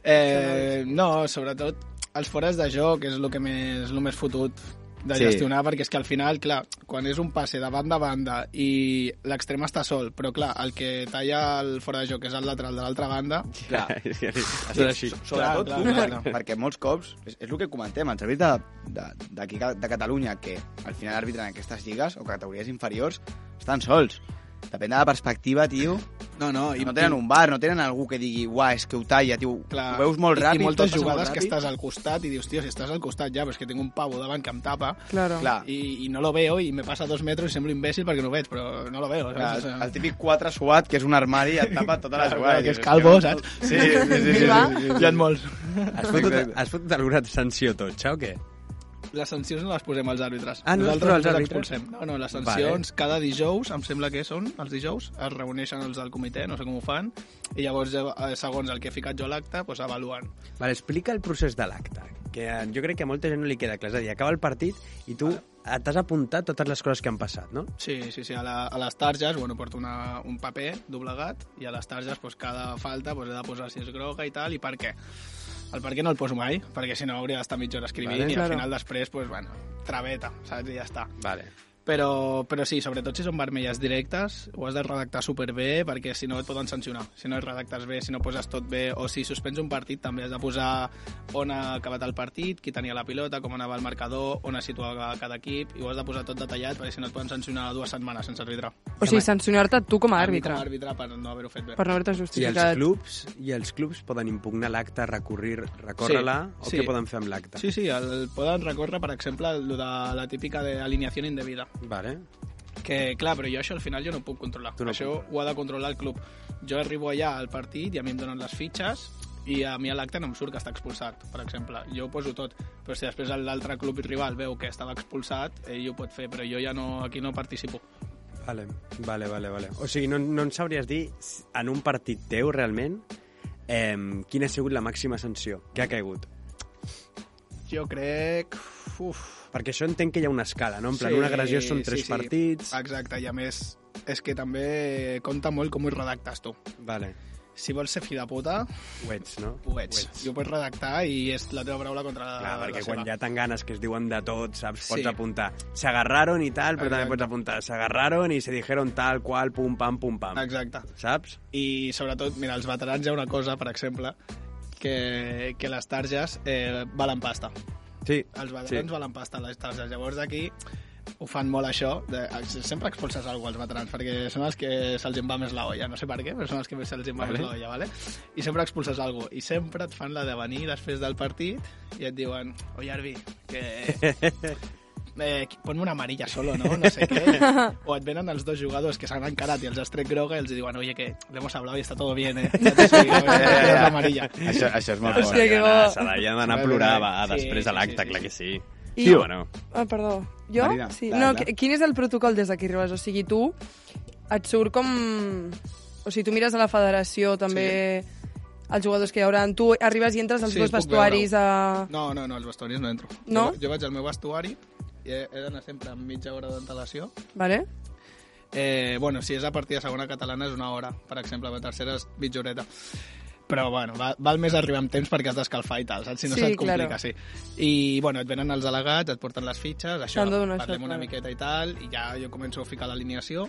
A: Eh, no, sobretot els fores de joc és el que més, el més fotut de
B: Sí.
A: gestionar, perquè és que al final, clar, quan és un passe de banda a banda i l'extrem està sol, però clar, el que talla el fora de joc és el lateral de l'altra banda,
B: Clar.
C: És
B: Sí,
C: que- és així.
B: so- Sobretot
A: Clar,
B: tu,
A: clar,
B: per-
A: clar, clar.
B: <laughs> perquè molts cops, és, és el que comentem, els àrbitres de- de- d'aquí de, de Catalunya, que al final arbitren aquestes lligues o categories inferiors, estan sols. Depèn de la perspectiva, tio.
A: No, no,
B: I no tenen un bar, no tenen algú que digui, uah, és que ho talla, tio. ho veus molt
A: i-
B: ràpid.
A: I moltes
B: tot passa molt
A: jugades que
B: ràpid.
A: estàs al costat i dius, tio, si estàs al costat ja, però és que tinc un pavo davant que em tapa
D: Claro.
B: Clar, i,
A: i, i no lo veo i me passa dos metros i semblo imbècil perquè no ho veig, però no lo veo.
B: clar,
A: Saps? O
B: el,
A: sea,
B: el típic 4 suat, que és un armari, et tapa tota la
A: Clar,
B: jugada.
A: clar, que és
B: tio.
A: calvo, saps?
B: Sí, sí, sí. sí, sí, sí,
D: Va.
B: sí, sí.
A: Hi ha molts.
C: Has fotut,
B: Exacte.
C: has fotut alguna sanció totxa o què?
A: Les sancions no les posem als àrbitres.
C: Ah, no les
A: Nosaltres
C: poseu als
A: les
C: àrbitres?
A: expulsem. No, no, les sancions cada dijous, em sembla que són els dijous, es reuneixen els del comitè, no sé com ho fan, i llavors, eh, segons el que he ficat jo a l'acte, doncs avaluen.
C: Vale, explica el procés de l'acte, que eh, jo crec que a molta gent no li queda clar. És a dir, acaba el partit i tu eh, t'has apuntat totes les coses que han passat, no?
A: Sí, sí, sí, a, la, a les targes, bueno, porto una, un paper doblegat i a les targes pues, cada falta pues, he de posar si és groga i tal, i per què? El per què no el poso mai, perquè si no hauria d'estar mitja hora escrivint
C: Vale.
A: i
D: Claro.
A: al final després, pues, bueno, traveta, saps? I ja està.
C: Vale.
A: Però, però sí, sobretot si són vermelles directes, ho has de redactar superbé perquè si no et poden sancionar. Si no et redactes bé, si no poses tot bé, o si suspens un partit també has de posar on ha acabat el partit, qui tenia la pilota, com anava el marcador, on es situava cada equip, i ho has de posar tot detallat perquè si no et poden sancionar dues setmanes sense arbitrar.
D: O sigui, sancionar-te tu com a àrbitre,
A: Com a àrbitre per no haver-ho fet bé.
D: per no haver-te
C: I els,
D: justificat.
C: clubs, I els clubs poden impugnar l'acte, recórrer-la, recórrer la
A: Sí,
C: o
A: sí.
C: què poden fer amb l'acte?
A: Sí, sí, el, poden recórrer, per exemple, lo de la típica de alineació indebida.
C: Vale.
A: Que, clar, però jo això al final jo no ho puc controlar.
C: Tu no
A: No això
C: controles.
A: ho ha de controlar el club. Jo arribo allà al partit i a mi em donen les fitxes i a mi a l'acte no em surt que està expulsat, per exemple. Jo ho poso tot, però si després l'altre club rival veu que estava expulsat, ell ho pot fer, però jo ja no, aquí no participo.
C: Vale, vale, vale, vale. O sigui, no, no ens sabries dir, s- en un partit teu, realment, eh, quina ha sigut la màxima sanció que ha caigut?
A: Jo crec... Uf,
C: Perquè això entenc que hi ha una escala, no? En plan, una agressió són tres partits...
A: Exacte, i a més és que també compta molt com ho redactes tu.
C: Vale,
A: Si vols ser fill de puta,
C: ho ets, no?
A: ho ets. I ho pots redactar i és la teva paraula contra la,
C: Clar, perquè
A: Ah, la
C: quan
A: seva.
C: hi ha tan ganes que es diuen de tot, saps? Pots
A: Sí.
C: apuntar s'agarraron i tal, però també
A: Exacte.
C: pots apuntar s'agarraron i se dijeron tal, qual, pum, pam, pum, pam.
A: Exacte.
C: Saps?
A: I sobretot, mira, els veterans hi ha una cosa, per exemple, que, que les targes eh, valen pasta.
C: Sí.
A: Els veterans
C: Sí.
A: valen pasta, les targes. Llavors aquí ho fan molt això, de, sempre expulses algú als veterans, perquè són els que se'ls en va més la olla, no sé per què, però són els que més se'ls en va
C: Vale.
A: més la olla, vale? i sempre expulses algú, i sempre et fan la de venir després del partit i et diuen, oi Arbi, <laughs> que eh, ponme una amarilla solo, ¿no? No sé qué. O et venen els dos jugadors que s'han encarat i els has tret groga i els diuen, oye, que le hemos hablado y está todo bien, <laughs> eh? Ja t'ho explico, eh? Tens l'amarilla.
B: Això, això és molt
D: Sí,
B: fort.
D: que bo.
C: Se l'havien d'anar a
A: Sí,
C: plorar
A: sí,
C: va,
A: sí,
C: després de
A: sí,
C: l'acte,
A: sí,
C: clar
A: sí.
C: que sí.
D: I-
C: Sí o no?
D: Ah, perdó. Jo?
B: Marina,
D: sí.
B: dale,
D: no,
B: dale.
D: qui- quin és el protocol des d'aquí arribes? O sigui, tu et surt com... O sigui, tu mires a la federació també els jugadors que hi haurà. Tu arribes i entres als
A: Sí,
D: dos
A: puc
D: vestuaris a...
A: No, no, no, als vestuaris no entro.
D: No?
A: Jo, jo vaig al meu vestuari i he, he d'anar sempre amb mitja hora d'antelació.
D: Vale?
A: Eh, bueno, si és a partir de segona catalana és una hora, per exemple, la tercera és mitja horeta. Però, bueno, va, val més arribar amb temps perquè has d'escalfar i tal, saps? Si no
D: Sí,
A: se't complica,
D: claro.
A: sí. I, bueno, et venen els delegats, et porten les fitxes, això,
D: T'han de donar
A: parlem
D: això,
A: una
D: clar.
A: miqueta i tal, i ja jo començo a ficar l'alineació,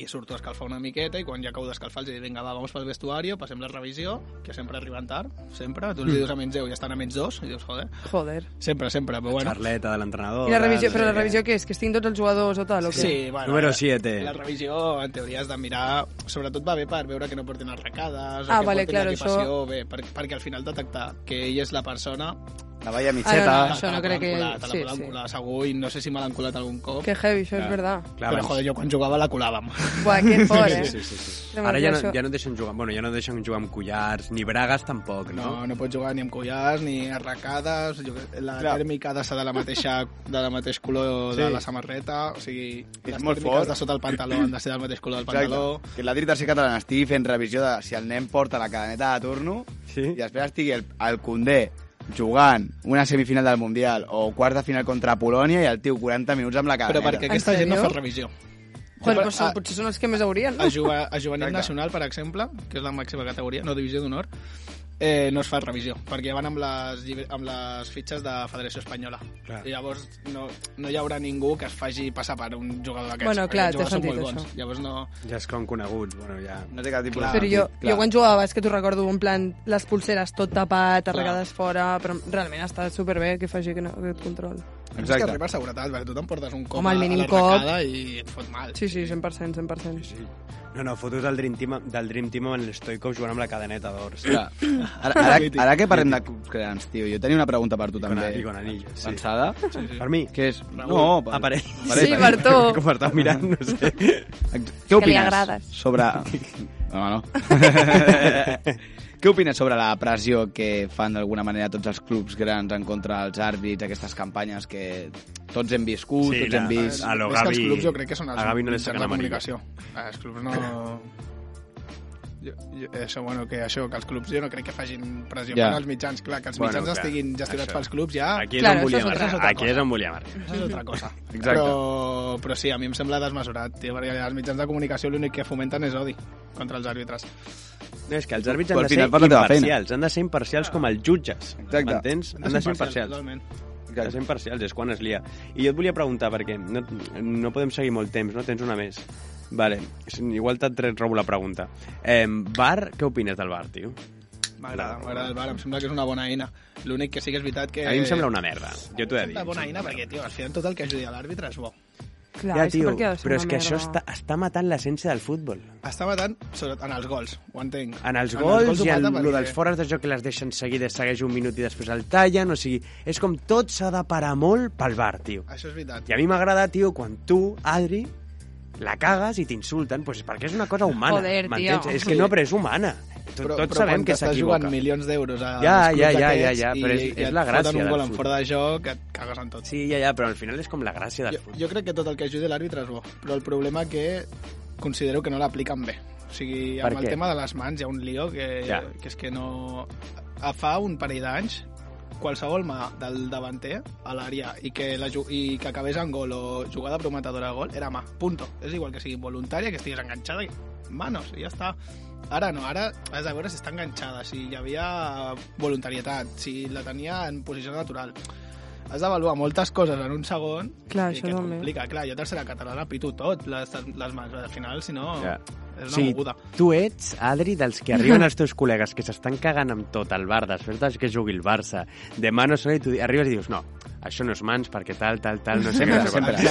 A: i surto a escalfar una miqueta i quan ja acabo d'escalfar els dic, vinga, va, vamos pel vestuari, passem la revisió, que sempre arriben tard, sempre. Tu els dius a menys 10 i estan a menys 2, i dius, joder,
D: Joder.
A: sempre, sempre, però bueno.
C: Charleta de l'entrenador...
D: I la revisió,
C: tal,
D: però la
C: no sé
D: revisió què és? Que estiguin tots els jugadors o tal? O què?
A: Sí, bueno,
C: Número
A: la-
C: siete.
A: La revisió, en teoria, has de mirar... Sobretot va bé per veure que no portin arracades o
D: Ah,
A: que
D: vale,
A: portin
D: claro,
A: equipació bé, per, perquè al final detectar que ell és la persona...
B: La valla mitxeta...
D: Ah,
A: te la-
D: això
A: te la
D: no crec
A: poden
D: que-
A: Colar, te la
D: sí,
A: poden
D: sí.
A: colar segur i no sé si me l'han colat algun cop.
D: Que heavy, això és verdad.
C: què. Clar,
A: Però,
C: abans-
A: joder, jo quan jugava la colàvem.
D: Buah, que fort, eh?
C: Sí, sí, sí, sí.
D: No
C: Ara ja no,
D: m'agrada això.
C: ja no et deixen jugar... Bueno, ja no et deixen jugar amb collars, ni bragues tampoc, no?
A: No, no pots jugar ni amb collars, ni arracades, jo, què- la
B: Clar.
A: tèrmica ha de ser de la mateixa, de la mateix color de
B: Sí.
A: la samarreta, o sigui,
B: És
A: les
B: molt
A: tèrmiques
B: fort.
A: de sota el pantaló han de ser del mateix color del pantaló.
B: Que la dreta ser catalana estigui fent revisió de si el nen porta la cadeneta de turno
C: Sí.
B: i després estigui el, el Condé jugant una semifinal del Mundial o quart de final contra Polònia i el tio 40 minuts amb la
A: Però
B: cadeneta.
A: perquè aquesta gent no
D: sèrio?
A: fa revisió.
D: Bueno,
A: Però-
D: però són,
A: ah,
D: potser són els que més haurien, no?
A: a, jugar, a juvenil
B: Exacte.
A: nacional, per exemple, que és la màxima categoria, no divisió d'honor, eh, no es fa revisió, perquè van amb les, llibre- amb les fitxes de Federació Espanyola.
B: Clar.
A: I llavors no, no hi haurà ningú que es faci passar per un jugador d'aquests.
D: Bueno,
A: perquè
D: clar,
A: aquests
D: té
A: jugadors
D: sentit,
A: són molt bons.
D: això.
A: Llavors no...
E: Ja és com conegut, bueno, ja...
B: No té cap tipus
E: Clar.
B: de
D: Però jo,
B: sentit, clar.
D: jo quan jugava, és que t'ho recordo, en plan, les pulseres tot tapat, arregades fora, però realment està superbé que faci que, no, que et control.
A: Exacte. És que
B: Exacte.
A: arriba a seguretat, perquè tu t'emportes un cop
D: Home, el
A: a-
D: mínim
A: a l'arracada i et fot mal.
D: Sí, sí, 100%, 100%.
E: No, no, fotos del Dream Team, del Dream Team amb l'Stoikov jugant amb la cadeneta d'or. Sí.
B: Clar. Ara, ara, ara que parlem de clubs grans, tio, jo tenia una pregunta per tu
E: I con-
B: també.
E: i con anillos, sí.
B: Pensada.
E: Per
C: <laughs>
E: mi,
B: Què és?
A: Raül.
B: No, per...
E: aparell.
B: Aparell,
D: Sí,
B: aparell.
D: Bartó.
E: <laughs> Com estàs mirant, no sé.
B: Ex- Què opines?
D: agrades.
B: Sobre...
D: <laughs>
B: No, <laughs> no. Què opines sobre la pressió que fan d'alguna manera tots els clubs grans en contra dels àrbits, aquestes campanyes que tots hem viscut,
E: Sí,
B: tots hem
E: la-
B: vist...
E: a lo
A: Més que els
E: Gavi-
A: clubs jo crec que són els
E: a Gavi no li saquen
A: mitjans de
E: l'amarilla.
A: comunicació. Els clubs no... Jo, jo, això, bueno, que això, que els clubs jo no crec que facin pressió
B: Ja.
A: ja. els mitjans, clar, que els
E: Bueno,
A: mitjans
E: clar,
A: estiguin gestionats
E: això.
A: pels clubs ja,
E: Aquí és
D: Clar,
E: on
D: això
E: volíem
D: és altra-
E: arribar.
A: altra
E: Aquí
A: cosa.
E: és on volíem arribar.
A: això és altra
E: <laughs>
A: cosa.
B: Exacte.
A: Però, però sí, a mi em sembla desmesurat, tio, perquè els mitjans de comunicació l'únic que fomenten és odi contra els àrbitres.
E: No, és que els àrbits
B: Però
E: han de
B: al
E: ser
B: final fas la teva feina.
E: imparcials, han de ser imparcials com els jutges,
B: Exacte.
E: m'entens? Han de ser imparcials.
A: Totalment.
E: Han de ser imparcials, és quan es lia. I jo et volia preguntar, perquè no, no podem seguir molt temps, no? Tens una més. Vale, igual te'n tret- robo la pregunta. Eh, bar, què opines del bar, tio?
A: M'agrada,
E: Clar.
A: m'agrada el bar, em sembla que és una bona eina. L'únic que sí que és veritat que...
E: A mi em sembla una merda, jo t'ho he de dir.
A: Eh, Una bona eina, perquè, tio, al final tot el que ajudi a l'àrbitre és bo.
D: Clar,
E: ja,
D: és
E: tio,
D: perquè ha de ser
E: però és
D: una
E: que això
D: merda.
E: està, està matant l'essència del futbol.
A: Està matant sobretot en els gols, ho entenc.
E: En els gols
A: ho
E: i en
A: mata
E: el
A: perquè-
E: dels fores de joc que les deixen seguides, segueix un minut i després el tallen, o sigui, és com tot s'ha de parar molt pel bar, tio.
A: Això és veritat.
E: I a mi m'agrada, tio, quan tu, Adri, la cagues i t'insulten, doncs perquè és una cosa humana.
D: Joder, tio.
E: m'entens? És que no, però és humana. Tot, però, tots
A: però
E: sabem
A: quan
E: que
A: t'estàs jugant
E: s'equivoca.
A: milions d'euros als
E: Ja,
A: clubs
E: ja, ja, ja,
A: aquests
E: ja,
A: i-
E: però és-
A: i
E: és
A: et
E: la gràcia
A: foten un
E: del
A: gol en
E: futbol.
A: fora de joc, et cagues en tot.
E: Sí, ja, ja, però al final és com la gràcia del
A: jo,
E: futbol.
A: jo crec que tot el que ajudi l'àrbitre és bo, però el problema que considero que no l'apliquen bé. O sigui, amb
E: Per
A: el
E: què?
A: tema de les mans hi ha un lío que,
E: Ja.
A: que és que no... A fa un parell d'anys qualsevol mà del davanter a l'àrea i, que la, ju- i que acabés en gol o jugada prometedora de gol era mà, punto. És igual que sigui voluntària, que estiguis enganxada, manos, i ja està. Ara no, ara has de veure si està enganxada, si hi havia voluntarietat, si la tenia en posició natural. Has d'avaluar moltes coses en un segon
D: Clar,
A: i
D: això
A: que et
D: també.
A: complica. Clar, jo tercera catalana pito tot, les, les mans, al final, si no,
E: Ja.
A: és una
E: Sí.
A: moguda.
E: Tu ets, Adri, dels que arriben els teus col·legues que s'estan cagant amb tot al bar després dels que jugui el Barça. Demà no sé, i tu di- arribes i dius, no, això no és mans perquè tal, tal, tal, no sé què. no sé
B: Sempre,
E: quantos".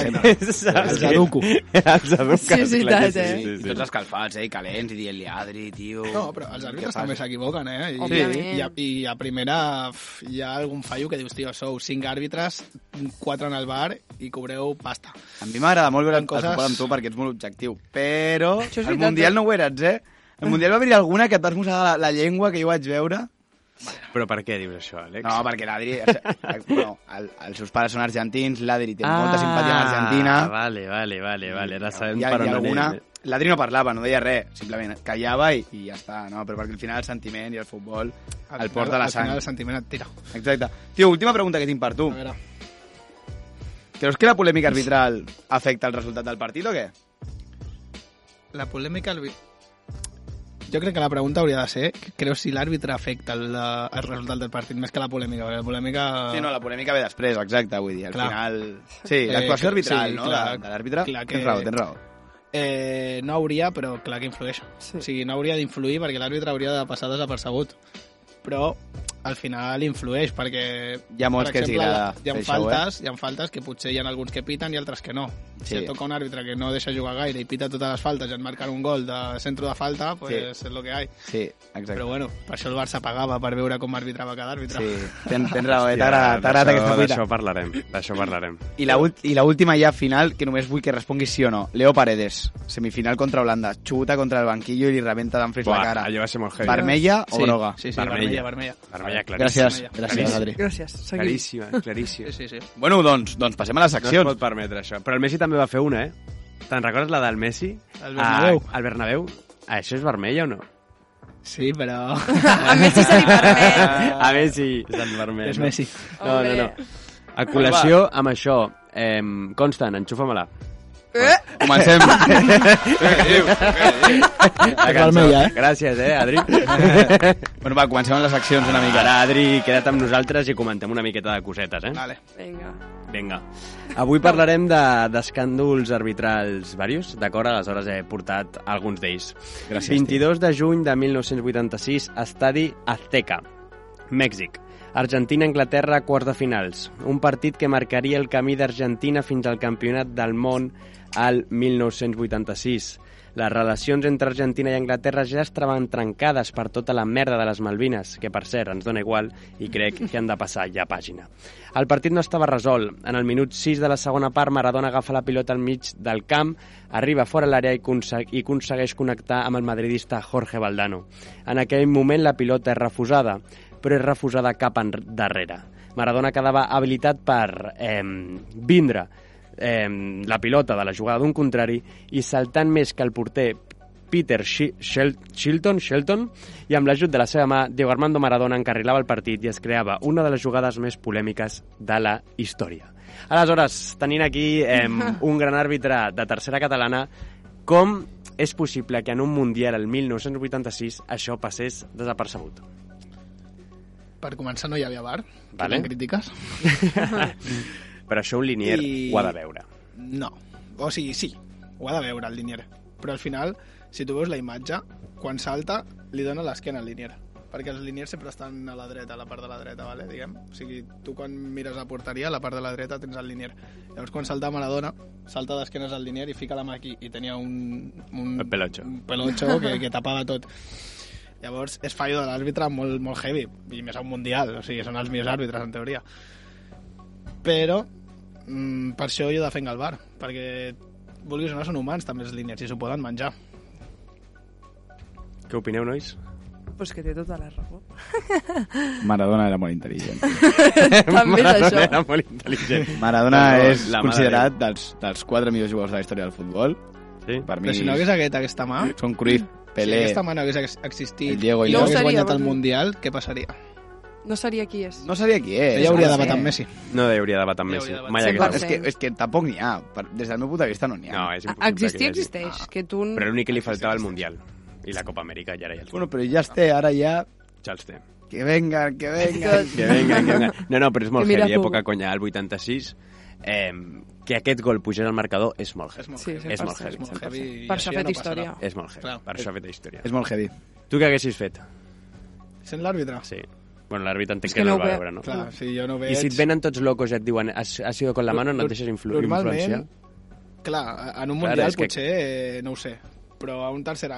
E: <laughs>
B: sempre,
E: Saps?
A: Els aduco.
E: Els aduco.
D: Sí, és veritat, eh?
B: I tots escalfats, eh, i calents, i dient-li Adri, tio...
A: No, però els àrbitres també s'equivoquen, eh? I,
D: Òbviament.
A: i, a, I a primera f, hi ha algun fallo que dius, tio, sou cinc àrbitres, quatre en el bar i cobreu pasta.
B: A mi m'agrada molt veure el
A: Fan coses-
B: futbol amb tu perquè ets molt objectiu, però
D: Això és
B: el
D: veritat,
B: Mundial
D: eh?
B: no ho eres, eh? El Mundial va haver-hi alguna que et vas mossegar la, la llengua que jo vaig veure.
E: Però per què dius això, Àlex?
B: No, perquè l'Adri...
E: <laughs>
B: Bueno, el, els seus pares són argentins, l'Adri té
E: Ah,
B: molta simpatia amb Argentina.
E: Vale, vale, vale, vale. Ara sabem
B: hi ha,
E: per
B: hi
E: on
B: ha alguna...
E: anem. eh.
B: L'Adri no parlava, no deia res, simplement callava i, i ja està, no? Però perquè al final el sentiment i el futbol
A: Al
B: el
A: final-
B: porta la
A: Al
B: sang.
A: final el sentiment et tira.
B: Exacte. Tio, última pregunta que tinc per tu.
A: A veure,
B: Creus que la polèmica arbitral afecta el resultat del partit o què?
A: la polèmica... al vi- Jo crec que la pregunta hauria de ser creus si l'àrbitre afecta el, el resultat del partit, més que la polèmica, perquè la polèmica...
B: Sí, no, la polèmica ve després, exacte, vull dir, al
A: Ah. Clar.
B: final... Sí, l'actuació
A: Eh,
B: arbitral,
A: sí,
B: no?,
A: clar.
B: de, de l'àrbitre.
A: Clar que-
B: Tens raó, tens raó.
A: Eh, no hauria, però clar que influeix.
D: Sí.
A: Sí. O sigui, no hauria d'influir perquè l'àrbitre hauria de passar desapercebut. Però al final influeix perquè...
B: Hi ha molts que
A: per
B: els
A: exemple,
B: agrada
A: Hi ha
B: fer això, eh?
A: faltes, hi ha faltes que potser hi ha alguns que piten i altres que no.
B: Sí.
A: Si et toca un àrbitre que no deixa jugar gaire i pita totes les faltes i et marquen un gol de centre de falta, pues és el que hi ha.
B: Sí, exacte.
A: Però bueno, per això el Barça pagava per veure com arbitrava cada àrbitre.
B: Sí, tens, tens raó, eh?
E: Hòstia,
B: t'agrada t'agrada
E: d'això-
B: aquesta
E: D'això
B: cuita.
E: parlarem, d'això parlarem.
B: I la ult- I l'última ja final, que només vull que responguis sí o no. Leo Paredes, semifinal contra Holanda, xuta contra el banquillo i li rebenta d'enfris la
E: Buah,
B: cara.
E: allò va ser molt heavy.
B: Vermella o
A: sí,
B: groga?
A: Sí, sí,
E: Vermella.
A: vermella, vermella.
E: Vermella claríssima.
B: Gràcies, gràcies, Adri.
D: Gràcies, seguim.
E: Claríssima,
A: Sí,
E: claríssima.
A: sí, sí.
B: Bueno, doncs, doncs passem a les
E: No es
B: seccions.
E: pot permetre això. Però el Messi també va fer una, eh? Te'n recordes la del Messi?
A: Al Bernabéu.
E: Ah, al Bernabéu. Ah, això és vermella o no?
A: Sí, però...
D: A Messi se li permet.
E: Ah, a Messi. És el vermell.
A: És Messi.
E: <laughs> No, no,
D: Hombre.
E: no. A col·lació, amb això, eh, Constant, enxufa-me-la.
D: Eh?
B: <laughs> Comencem. Ah,
E: La
A: calma
E: cançó.
A: ja, eh?
E: Gràcies, eh, Adri.
B: bueno, va, comencem amb les accions una mica.
E: Ara, Adri, queda't amb nosaltres i comentem una miqueta de cosetes, eh?
A: Vale.
D: Vinga.
E: Vinga. Avui parlarem de- d'escàndols arbitrals varios, d'acord? Aleshores he portat alguns d'ells.
B: Gràcies,
E: 22 de juny de 1986, estadi Azteca, Mèxic. Argentina, Anglaterra, quarts de finals. Un partit que marcaria el camí d'Argentina fins al campionat del món al 1986. Les relacions entre Argentina i Anglaterra ja estaven trencades per tota la merda de les Malvines, que per cert ens dona igual i crec que han de passar ja pàgina. El partit no estava resolt. En el minut 6 de la segona part, Maradona agafa la pilota al mig del camp, arriba fora l'àrea i, conse- i aconsegueix connectar amb el madridista Jorge Valdano. En aquell moment la pilota és refusada, però és refusada cap endarrere. Maradona quedava habilitat per eh, vindre eh, la pilota de la jugada d'un contrari i saltant més que el porter Peter Shi- Shel- Shilton, Shelton i amb l'ajut de la seva mà, Diego Armando Maradona encarrilava el partit i es creava una de les jugades més polèmiques de la història. Aleshores, tenint aquí eh,
A: <laughs>
E: un gran àrbitre de tercera catalana, com és possible que en un Mundial el 1986 això passés desapercebut?
A: Per començar no hi havia bar.
E: Vale.
A: Vale. Crítiques?
E: Però això un linier I...
A: I-
E: ho ha de veure.
A: No. O sigui, sí, ho ha de veure el Linier. Però al final, si tu veus la imatge, quan salta, li dona l'esquena al Linier. Perquè els Liniers sempre estan a la dreta, a la part de la dreta, vale? diguem. O sigui, tu quan mires a porteria, a la part de la dreta tens el Linier. Llavors, quan salta Maradona, salta d'esquenes al Linier i fica la mà aquí. I tenia un... un
E: El pelotxo.
A: Un pelotxo que, que tapava tot. Llavors, és fallo de l'àrbitre molt, molt heavy, i més a un Mundial, o sigui, són els millors àrbitres, en teoria. Però, mm, per això jo defenc el bar, perquè, vulguis o no, són humans també els línies, i s'ho poden menjar.
E: Què opineu, nois?
D: Pues que té tota la
E: <laughs>
D: raó.
B: Maradona era molt intel·ligent.
D: També és
E: Maradona
D: això.
E: Era molt intel·ligent.
A: <laughs>
B: Maradona
E: No, no,
B: és
E: la mà de
B: considerat dels, dels quatre millors jugadors de la història del futbol.
E: Sí?
B: Per mi
A: Però si no hagués hagués aquesta mà,
B: són Cruyff,
A: si
B: Pelé...
A: aquesta mà no hagués ex- existit,
B: el Diego
A: i
D: No ho
A: no hagués
D: seria,
A: guanyat
D: vols
A: el
D: dir?
A: Mundial, què passaria?
D: No seria qui és.
B: No sabia qui és. Ah,
A: Ella hauria
B: no
A: de
B: sé.
A: matar amb Messi.
E: No hauria de batar amb
A: No
E: Messi.
A: hauria de batar.
E: Mai
D: Sí,
B: Clar,
E: hagués
B: és, que, és que tampoc n'hi ha. Per, des del meu punt de vista no n'hi ha.
E: No, és
D: A-
E: impossible.
D: Existir
E: que hi hagi.
D: existeix, que tu...
E: Però l'únic que li faltava al Mundial. I la Copa Amèrica ja era ja el
B: Bueno, però ja es té, ara ja...
E: ja els té.
B: Que venga, que
E: <laughs>
B: venga...
D: Que-
E: Que venga, que venga. No, no, però és molt
D: Que mira
E: heavy,
D: tu.
E: època conya, el 86. Eh, que aquest gol pujés al marcador és molt
A: És
E: heavy.
A: molt
D: Sí,
A: heavy.
D: és molt
A: És
D: heavy,
A: molt
E: 100%.
A: heavy. i
D: Per això ha
A: això ja
D: fet
A: no
D: història.
A: passarà.
E: És molt heavy,
A: Clar.
E: per això ha fet la història.
B: És molt heavy.
E: Tu què haguessis fet?
A: Sent l'àrbitre?
E: Sí. Bueno, l'àrbitre entenc
D: És
E: que,
D: que
E: no el
D: no
E: va
D: ho ve-
E: veure, no?
A: Clar, si jo no veig...
E: I si et venen tots locos i et diuen ha sido con la mano, no et deixes influ influenciar?
A: Clar, en
E: Clar,
A: un mundial
E: és que-
A: potser eh, no ho sé, però a un tercer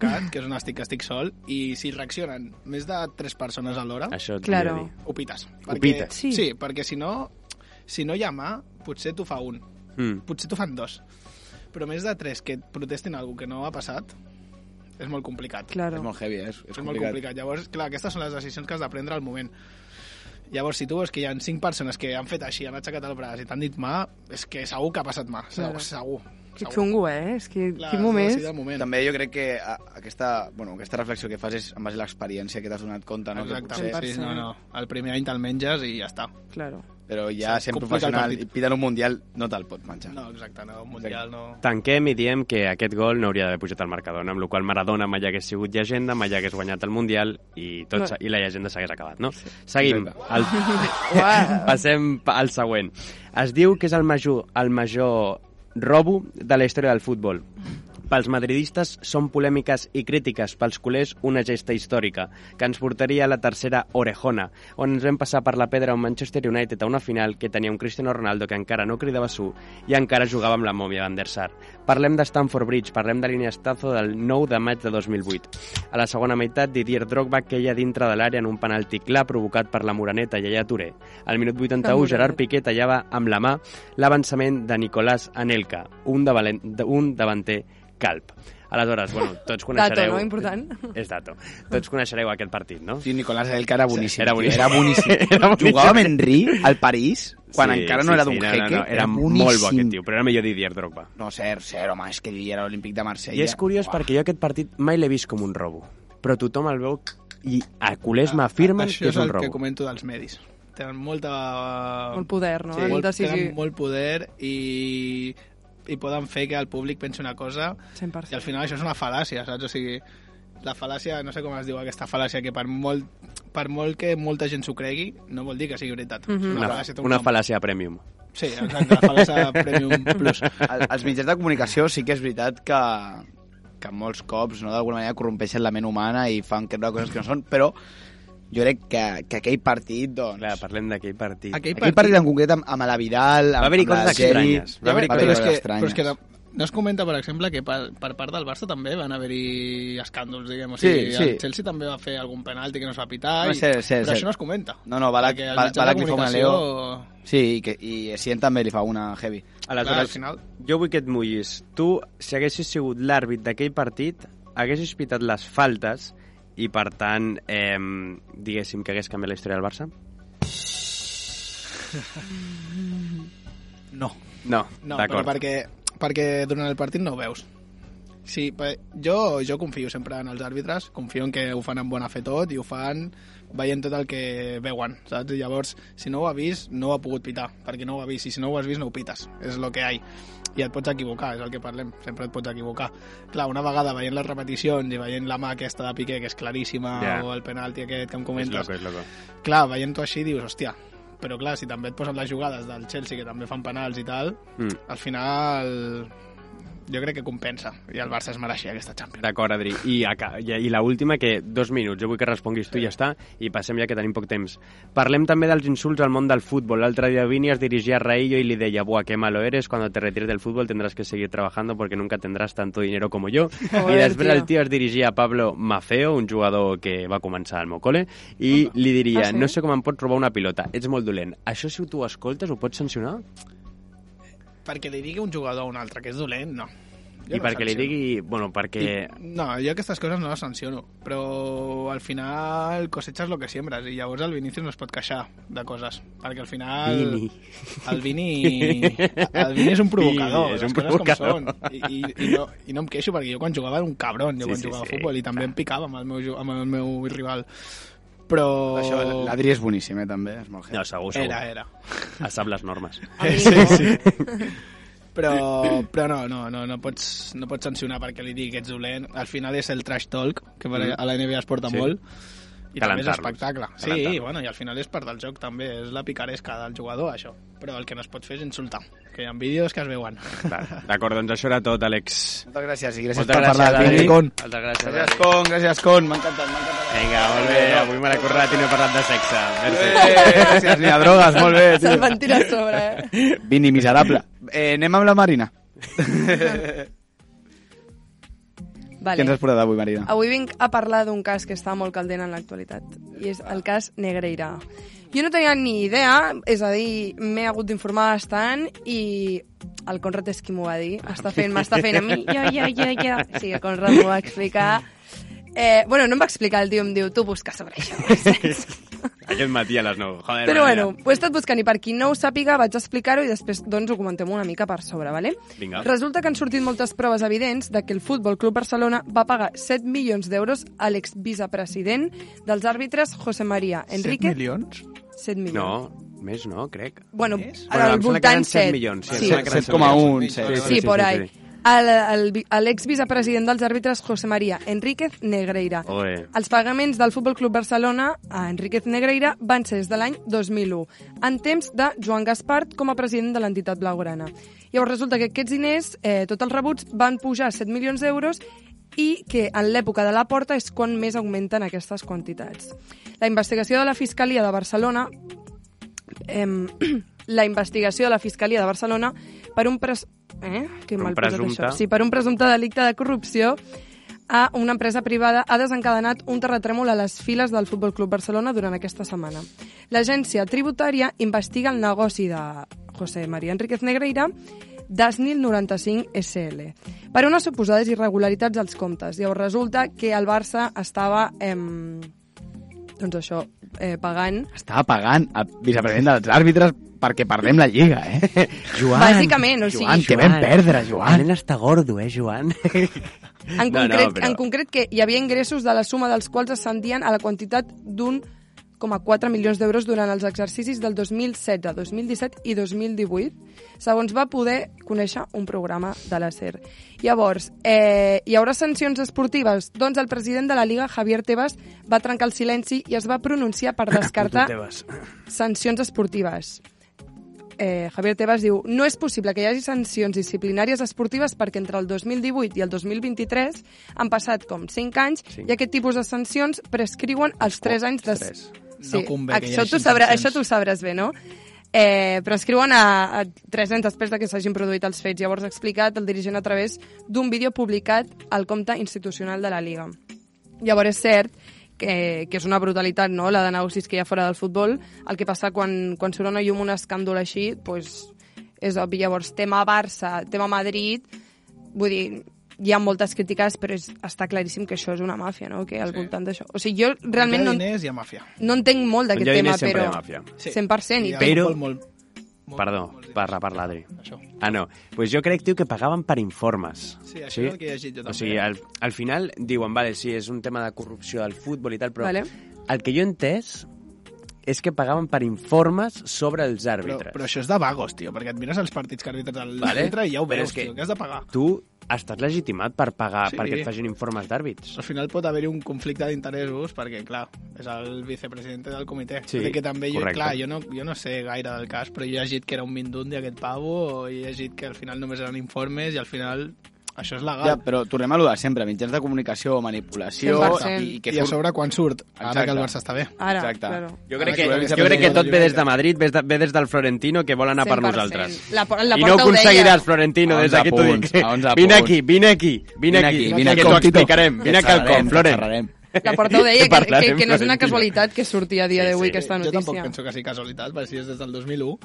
A: cat, que és on estic, que estic sol, i si reaccionen més de tres persones alhora,
E: Això et
D: Claro.
E: volia dir.
A: ho pites.
E: pites.
D: Sí.
A: sí, perquè si no, si no hi ha mà, potser t'ho fa un,
E: Mm.
A: potser t'ho fan dos. Però més de tres que et protestin alguna que no ha passat, és molt complicat.
B: És
D: Claro.
B: molt heavy, eh? és,
A: és, és molt complicat. Llavors, clar, aquestes són les decisions que has de prendre al moment. Llavors, si tu veus que hi ha cinc persones que han fet així, han aixecat el braç i t'han dit mà, és que segur que ha passat mà, segur,
D: Claro.
A: segur.
D: Que
A: segur.
D: xungo, eh? És que
A: Clar,
D: quin
A: has de
D: moment
A: decidir el moment.
B: També jo crec que a, aquesta, bueno, aquesta reflexió que fas és en base a l'experiència que t'has donat compte, no?
A: Exacte,
B: Que
A: sí,
B: potser,
A: sí, no, no. El primer any te'l menges i ja està.
D: Claro.
B: però ja
A: Sí,
B: sent
A: complica el
B: professional
A: partit.
B: i pidant un mundial no te'l pot menjar.
A: No, exacte, no, un mundial no...
E: Tanquem i diem que aquest gol no hauria d'haver pujat al marcador, no? amb la qual cosa Maradona mai hagués sigut llegenda, mai hagués guanyat el Mundial i, tot,
D: No.
E: s'ha- i la llegenda s'hagués acabat, no? Seguim. El...
D: <laughs> Uau.
E: Passem pa- al <laughs> següent. Es diu que és el major, el major robo de la història del futbol. Pels madridistes són polèmiques i crítiques, pels culers una gesta històrica, que ens portaria a la tercera orejona, on ens vam passar per la pedra un Manchester United a una final que tenia un Cristiano Ronaldo que encara no cridava su i encara jugava amb la mòmia Van der Sar. Parlem de Stamford Bridge, parlem de l'iniestazo del 9 de maig de 2008. A la segona meitat, Didier Drogba queia dintre de l'àrea en un penalti clar provocat per la Moraneta i allà Touré. Al minut 81,
D: Moreneta.
E: Gerard Piqué tallava amb la mà l'avançament de Nicolás Anelka, un, de valent, de- un davanter calp. Aleshores, bueno, tots coneixereu...
D: no? Important.
E: És dato. Tots coneixereu aquest partit, no?
B: Sí, Nicolás Elka era boníssim.
E: Era
B: tio,
E: boníssim.
B: Era boníssim.
E: <laughs> Era boníssim.
B: Jugava amb Henry al París, quan
E: Sí,
B: encara
E: sí,
B: no era
E: sí,
B: d'un
E: no, no,
B: jeque.
E: no, era molt bo aquest tio, però era millor Didier Drogba.
B: No, cert, cert, home, és que ell era olímpic de Marsella.
E: I és curiós
B: Uah.
E: perquè jo aquest partit mai l'he vist com un robo, però tothom el veu i a culers m'afirmen
A: Això
E: que
A: és
E: és un
A: el que
E: robo.
A: comento dels medis. Tenen molta...
D: Molt poder, no?
A: Sí,
D: En
A: molt,
D: decisió.
A: tenen molt poder i i poden fer que el públic pensi una cosa
D: 100%.
A: i al final això és una fal·làcia, saps? O sigui, la fal·làcia, no sé com es diu aquesta fal·làcia, que per molt, per molt que molta gent s'ho cregui, no vol dir que sigui veritat. Mm
D: Mhm.
A: -hmm.
C: Una, una fal·làcia premium.
A: Sí, exacte, la fal·làcia Premium Plus.
B: El, els mitjans de comunicació sí que és veritat que, que molts cops no, d'alguna manera corrompeixen la ment humana i fan creure coses que no són, però jo crec que, que aquell partit, doncs...
C: Clar, parlem d'aquell partit.
A: Aquell
B: Aquell partit en concret amb, amb la Vidal, amb,
C: Va haver-hi
B: amb la
C: coses
B: Geri...
C: estranyes. Va haver-hi
A: però, és
B: coses
A: que, però
B: estranyes.
A: és que no es comenta, per exemple, que per, per part del Barça també van haver-hi escàndols, diguem. O
B: Sí,
A: sigui, sí,
B: sí.
A: sí. el Chelsea també va fer algun penalti que no es va pitar,
B: No,
A: i,
B: cert, cert,
A: però
B: cert.
A: això no es comenta.
B: No, no, Balak-
A: Perquè els
B: Ba-
A: mitjans de
B: Balak li fa una
A: comunicació,
B: Sí, i, que, i Sien també li fa una heavy.
A: Clar, al
C: Aleshores,
A: final...
C: jo vull que et mullis. Tu, si haguessis sigut l'àrbit d'aquell partit, haguessis pitat les faltes i, per tant, eh, diguéssim que hagués canviat la història del Barça?
B: No.
C: No,
A: No, però
C: d'acord.
A: perquè, perquè durant el partit no ho veus. Sí, pe- jo, jo confio sempre en els àrbitres, confio en que ho fan amb bona fe tot i ho fan veient tot el que veuen, saps? I llavors, si no ho ha vist, no ho ha pogut pitar, perquè no ho ha vist, i si no ho has vist, no ho pites, és el que hi ha. I et pots equivocar, és el que parlem, sempre et pots equivocar. Clar, una vegada veient les repeticions i veient la mà aquesta de Piqué, que és claríssima,
C: Ja.
A: yeah. o el penalti aquest que em
C: És
A: comentes,
C: loco, és loco.
A: clar, veient-ho així dius, hòstia, però clar, si també et posen les jugades del Chelsea, que també fan penals i tal,
C: Mm.
A: al final jo crec que compensa i el Barça es mereixia aquesta Champions
C: D'acord, Adri. I, aca- i, i l'última, que dos minuts, jo vull que responguis tu i ja està, i passem ja que tenim poc temps. Parlem també dels insults al món del futbol. L'altre dia Vini es dirigia a Raillo i li deia «Buah, qué malo eres, cuando te retires del fútbol tendrás que seguir trabajando porque nunca tendrás tanto dinero como
A: <laughs>
C: yo».
D: Joder,
C: I després el
D: tio.
C: tio es dirigia a Pablo Mafeo, un jugador que va començar al meu col·le, i li diria
D: Ah, sí?
C: «No sé com em pots robar una pilota, ets molt dolent». Això si tu ho escoltes ho pots sancionar?
A: perquè li digui un jugador a un altre que és dolent, no Jo
C: I
A: no
C: perquè li
A: sanciono.
C: digui... Bueno, perquè...
A: I- No, jo aquestes coses no les sanciono, però al final coseches lo que siembres i llavors el Vinícius no es pot queixar de coses, perquè al final...
C: Vini.
A: El Vini... El Vini és un provocador,
C: Vini, és
A: les
C: un
A: coses
C: provocador.
A: com són. I, i, i, no, I no em queixo perquè jo quan jugava era un cabron, jo
C: Sí,
A: quan
C: sí,
A: jugava
C: sí,
A: a futbol i també em picava amb el meu, ju- amb el meu rival. Però...
B: Això, l'Adri és boníssim, eh, també, és molt heavy.
C: No, segur, segur.
A: Era, era.
C: A sap les normes.
A: Sí, sí. Però, però no, no, no, no, pots, no pots sancionar perquè li digui que ets dolent. Al final és el trash talk, que per a la NBA es porta
C: Mm. Sí.
A: sí. molt. I també és
C: Calentar-los.
A: espectacle. Sí,
C: Calentar-los.
A: bueno, i al final és part del joc també, és la picaresca del jugador, això. Però el que no es pot fer és insultar, que hi ha vídeos que es veuen.
C: Va, D'acord, doncs això era tot, Àlex.
B: Moltes gràcies i gràcies
C: Moltes
B: per
C: gràcies,
B: parlar.
C: Adri.
B: Adri. Con.
C: Moltes gràcies,
B: Gràcies,
C: Adri.
B: Con, gràcies, Con. M'ha encantat, m'ha encantat.
C: Vinga, molt bé, avui me l'he currat i no he parlat de sexe. Merci.
B: Eh, gràcies, ni a drogues, molt bé,
D: Se'n
B: tio.
D: van tirar a sobre,
A: <laughs>
D: eh?
B: Vini, miserable. Eh, anem amb la Marina. Què
D: Vale.
B: ens has portat avui, Marina?
D: Avui vinc a parlar d'un cas que està molt caldent en l'actualitat, i és el cas Negreira. Jo no tenia ni idea, és a dir, m'he hagut d'informar bastant i el Conrad és qui m'ho va dir. Està fent, m'està fent a
A: <laughs>
D: mi, jo, jo, jo, jo. Sí, el Conrad m'ho va explicar. Eh, bueno, no em va explicar, el tio em diu, tu busca sobre això.
A: <laughs>
D: saps?
C: Aquest matí a les 9. Joder,
D: Però
C: Marina.
D: bueno, ho he estat buscant i per qui no ho sàpiga vaig explicar-ho i després doncs ho comentem una mica per sobre, vale?
C: Vinga.
D: Resulta que han sortit moltes proves evidents de que el Futbol Club Barcelona va pagar 7 milions d'euros a l'exvicepresident dels àrbitres José María Enrique. 7
A: milions?
D: 7 milions.
C: No, més no, crec.
D: Bueno,
C: Bueno,
D: al
C: em sembla que eren
D: voltant
C: 7
D: 7.
C: milions, sí, em
D: sí.
C: sembla que eren
B: 7,1,
A: Sí,
B: set.
A: sí,
D: Sí,
C: sí,
D: por
C: sí,
D: ahí.
C: sí.
D: El- el- a L'exvicepresident dels àrbitres José María Enríquez Negreira.
C: Oe.
D: Els pagaments del Futbol Club Barcelona a Enríquez Negreira van ser des de l'any 2001, en temps de Joan Gaspart com a president de l'entitat blaugrana. Llavors resulta que aquests diners, eh, tots els rebuts, van pujar a 7 milions d'euros i que en l'època de la porta és quan més augmenten aquestes quantitats. La investigació de la Fiscalia de Barcelona em, <clears throat> la investigació de la Fiscalia de Barcelona per un pres... Eh? Que
C: Per un
D: mal posat
C: presumpte.
D: això. Sí, per un presumpte delicte de corrupció a una empresa privada ha desencadenat un terratrèmol a les files del Futbol Club Barcelona durant aquesta setmana. L'agència tributària investiga el negoci de José María Enríquez Negreira d'Asnil 95 SL per unes suposades irregularitats als comptes. Llavors resulta que el Barça estava em, doncs això, eh, pagant
B: Estava pagant el vicepresident dels àrbitres perquè perdem la Lliga,
C: <laughs>
B: eh? Joan,
D: Bàsicament, o sigui,
B: Joan, que vam perdre, Joan.
C: Nen està gordo, eh, <laughs> Joan?
D: En
C: No,
D: concret,
C: no, però-
D: en concret que hi havia ingressos de la suma dels quals ascendien a la quantitat d'un 1,4 milions d'euros durant els exercicis del 2016, 2017 i 2018, segons va poder conèixer un programa de la SER. Llavors, eh, hi haurà sancions esportives? Doncs el president de la Liga, Javier Tebas, va trencar el silenci i es va pronunciar
C: <coughs>
D: per descartar
C: Tebas.
D: sancions esportives. Eh, Javier Tebas diu no és possible que hi hagi sancions disciplinàries esportives perquè entre el 2018 i el 2023 han passat com 5 anys
C: Cinc.
D: i aquest tipus de sancions prescriuen els 3 anys de...
C: Tres.
A: Oh, No convé que hi
D: això
A: hagi
D: tu sabrà,
A: sancions.
D: Això tu ho sabràs bé, no? Eh, prescriuen a, a 3 anys després de que s'hagin produït els fets. Llavors ha explicat el dirigent a través d'un vídeo publicat al compte institucional de la Liga. Llavors és cert que, que és una brutalitat, no?, la de negocis que hi ha fora del futbol. El que passa quan, quan surt a una llum un escàndol així, doncs és obvi. Llavors, tema Barça, tema Madrid, vull dir, hi ha moltes crítiques, però és, està claríssim que això és una màfia, no?, que al
A: Sí.
D: sí. voltant d'això... O sigui, jo realment
A: Hi
D: no,
A: ha diners i hi ha màfia.
D: no entenc molt d'aquest
C: Menjar
D: tema,
C: diners sempre
D: però...
C: hi ha màfia.
A: Sí.
D: 100%. I
A: Hi ha
C: Però-
A: molt, molt, molt,
C: Perdó,
A: molts diners.
C: parla, parla, Adri.
A: Això.
C: Ah, no. Doncs pues jo crec, tio, que pagaven per informes.
A: Sí, això és el que he llegit jo també.
C: O sigui, al, al final diuen, vale, sí, és un tema de corrupció del futbol i tal, però
D: Vale.
C: vale. el que jo he entès és que pagaven per informes sobre els
A: Però,
C: àrbitres.
A: però això és de vagos, tio, perquè et mires els partits que arbitres al
C: Vale.
A: vale. i ja ho
C: Però
A: veus,
C: és que-
A: tio, que has de pagar.
C: Tu estàs legitimat per pagar
A: Sí.
C: sí. perquè et facin informes d'àrbits.
A: Al final pot haver-hi un conflicte d'interessos perquè, clar, és el vicepresident del comitè.
C: Sí,
A: Tot i que també jo,
C: correcte.
A: clar, jo no, jo no sé gaire del cas, però jo he llegit que era un mindundi aquest pavo, he llegit que al final només eren informes i al final això és legal.
B: Ja, però tornem a lo de sempre, mitjans de comunicació, manipulació...
D: 100%.
B: I, i
A: I,
B: que
A: I a
B: surt...
A: sobre quan surt, ara
B: Exacte.
A: que el Barça està bé.
D: Ara,
B: Exacte.
D: claro.
C: Jo
A: Ara
C: crec,
A: que
C: que,
A: veurem si
C: jo crec que
A: aprendrem
C: tot
A: de
C: ve des
A: Llorenç.
C: de Madrid, ve, de, ve des del Florentino, que vol anar per
D: 100%.
C: nosaltres.
D: La por- la
C: I no
D: porta ho
C: aconseguiràs,
D: deia.
C: Florentino,
B: A
C: des
B: 11
C: d'aquí t'ho dic.
B: punts, a 11
C: Vine
B: punts.
C: aquí, vine aquí, Ah, doncs. vine aquí,
B: vine
C: que
B: aquí,
C: t'ho
B: Tito.
C: explicarem. Vine
B: Et
C: aquí al
B: xerrarem,
C: com, Florent.
B: xerrarem.
D: La
C: <laughs>
D: porta ho deia, que, que,
C: parlarem,
D: que no és una
C: Florentino.
D: casualitat que surti a dia
C: Sí,
D: d'avui
C: sí.
D: aquesta
A: Eh, Jo tampoc
D: notícia.
A: penso que sigui casualitat, perquè si és des del 2001...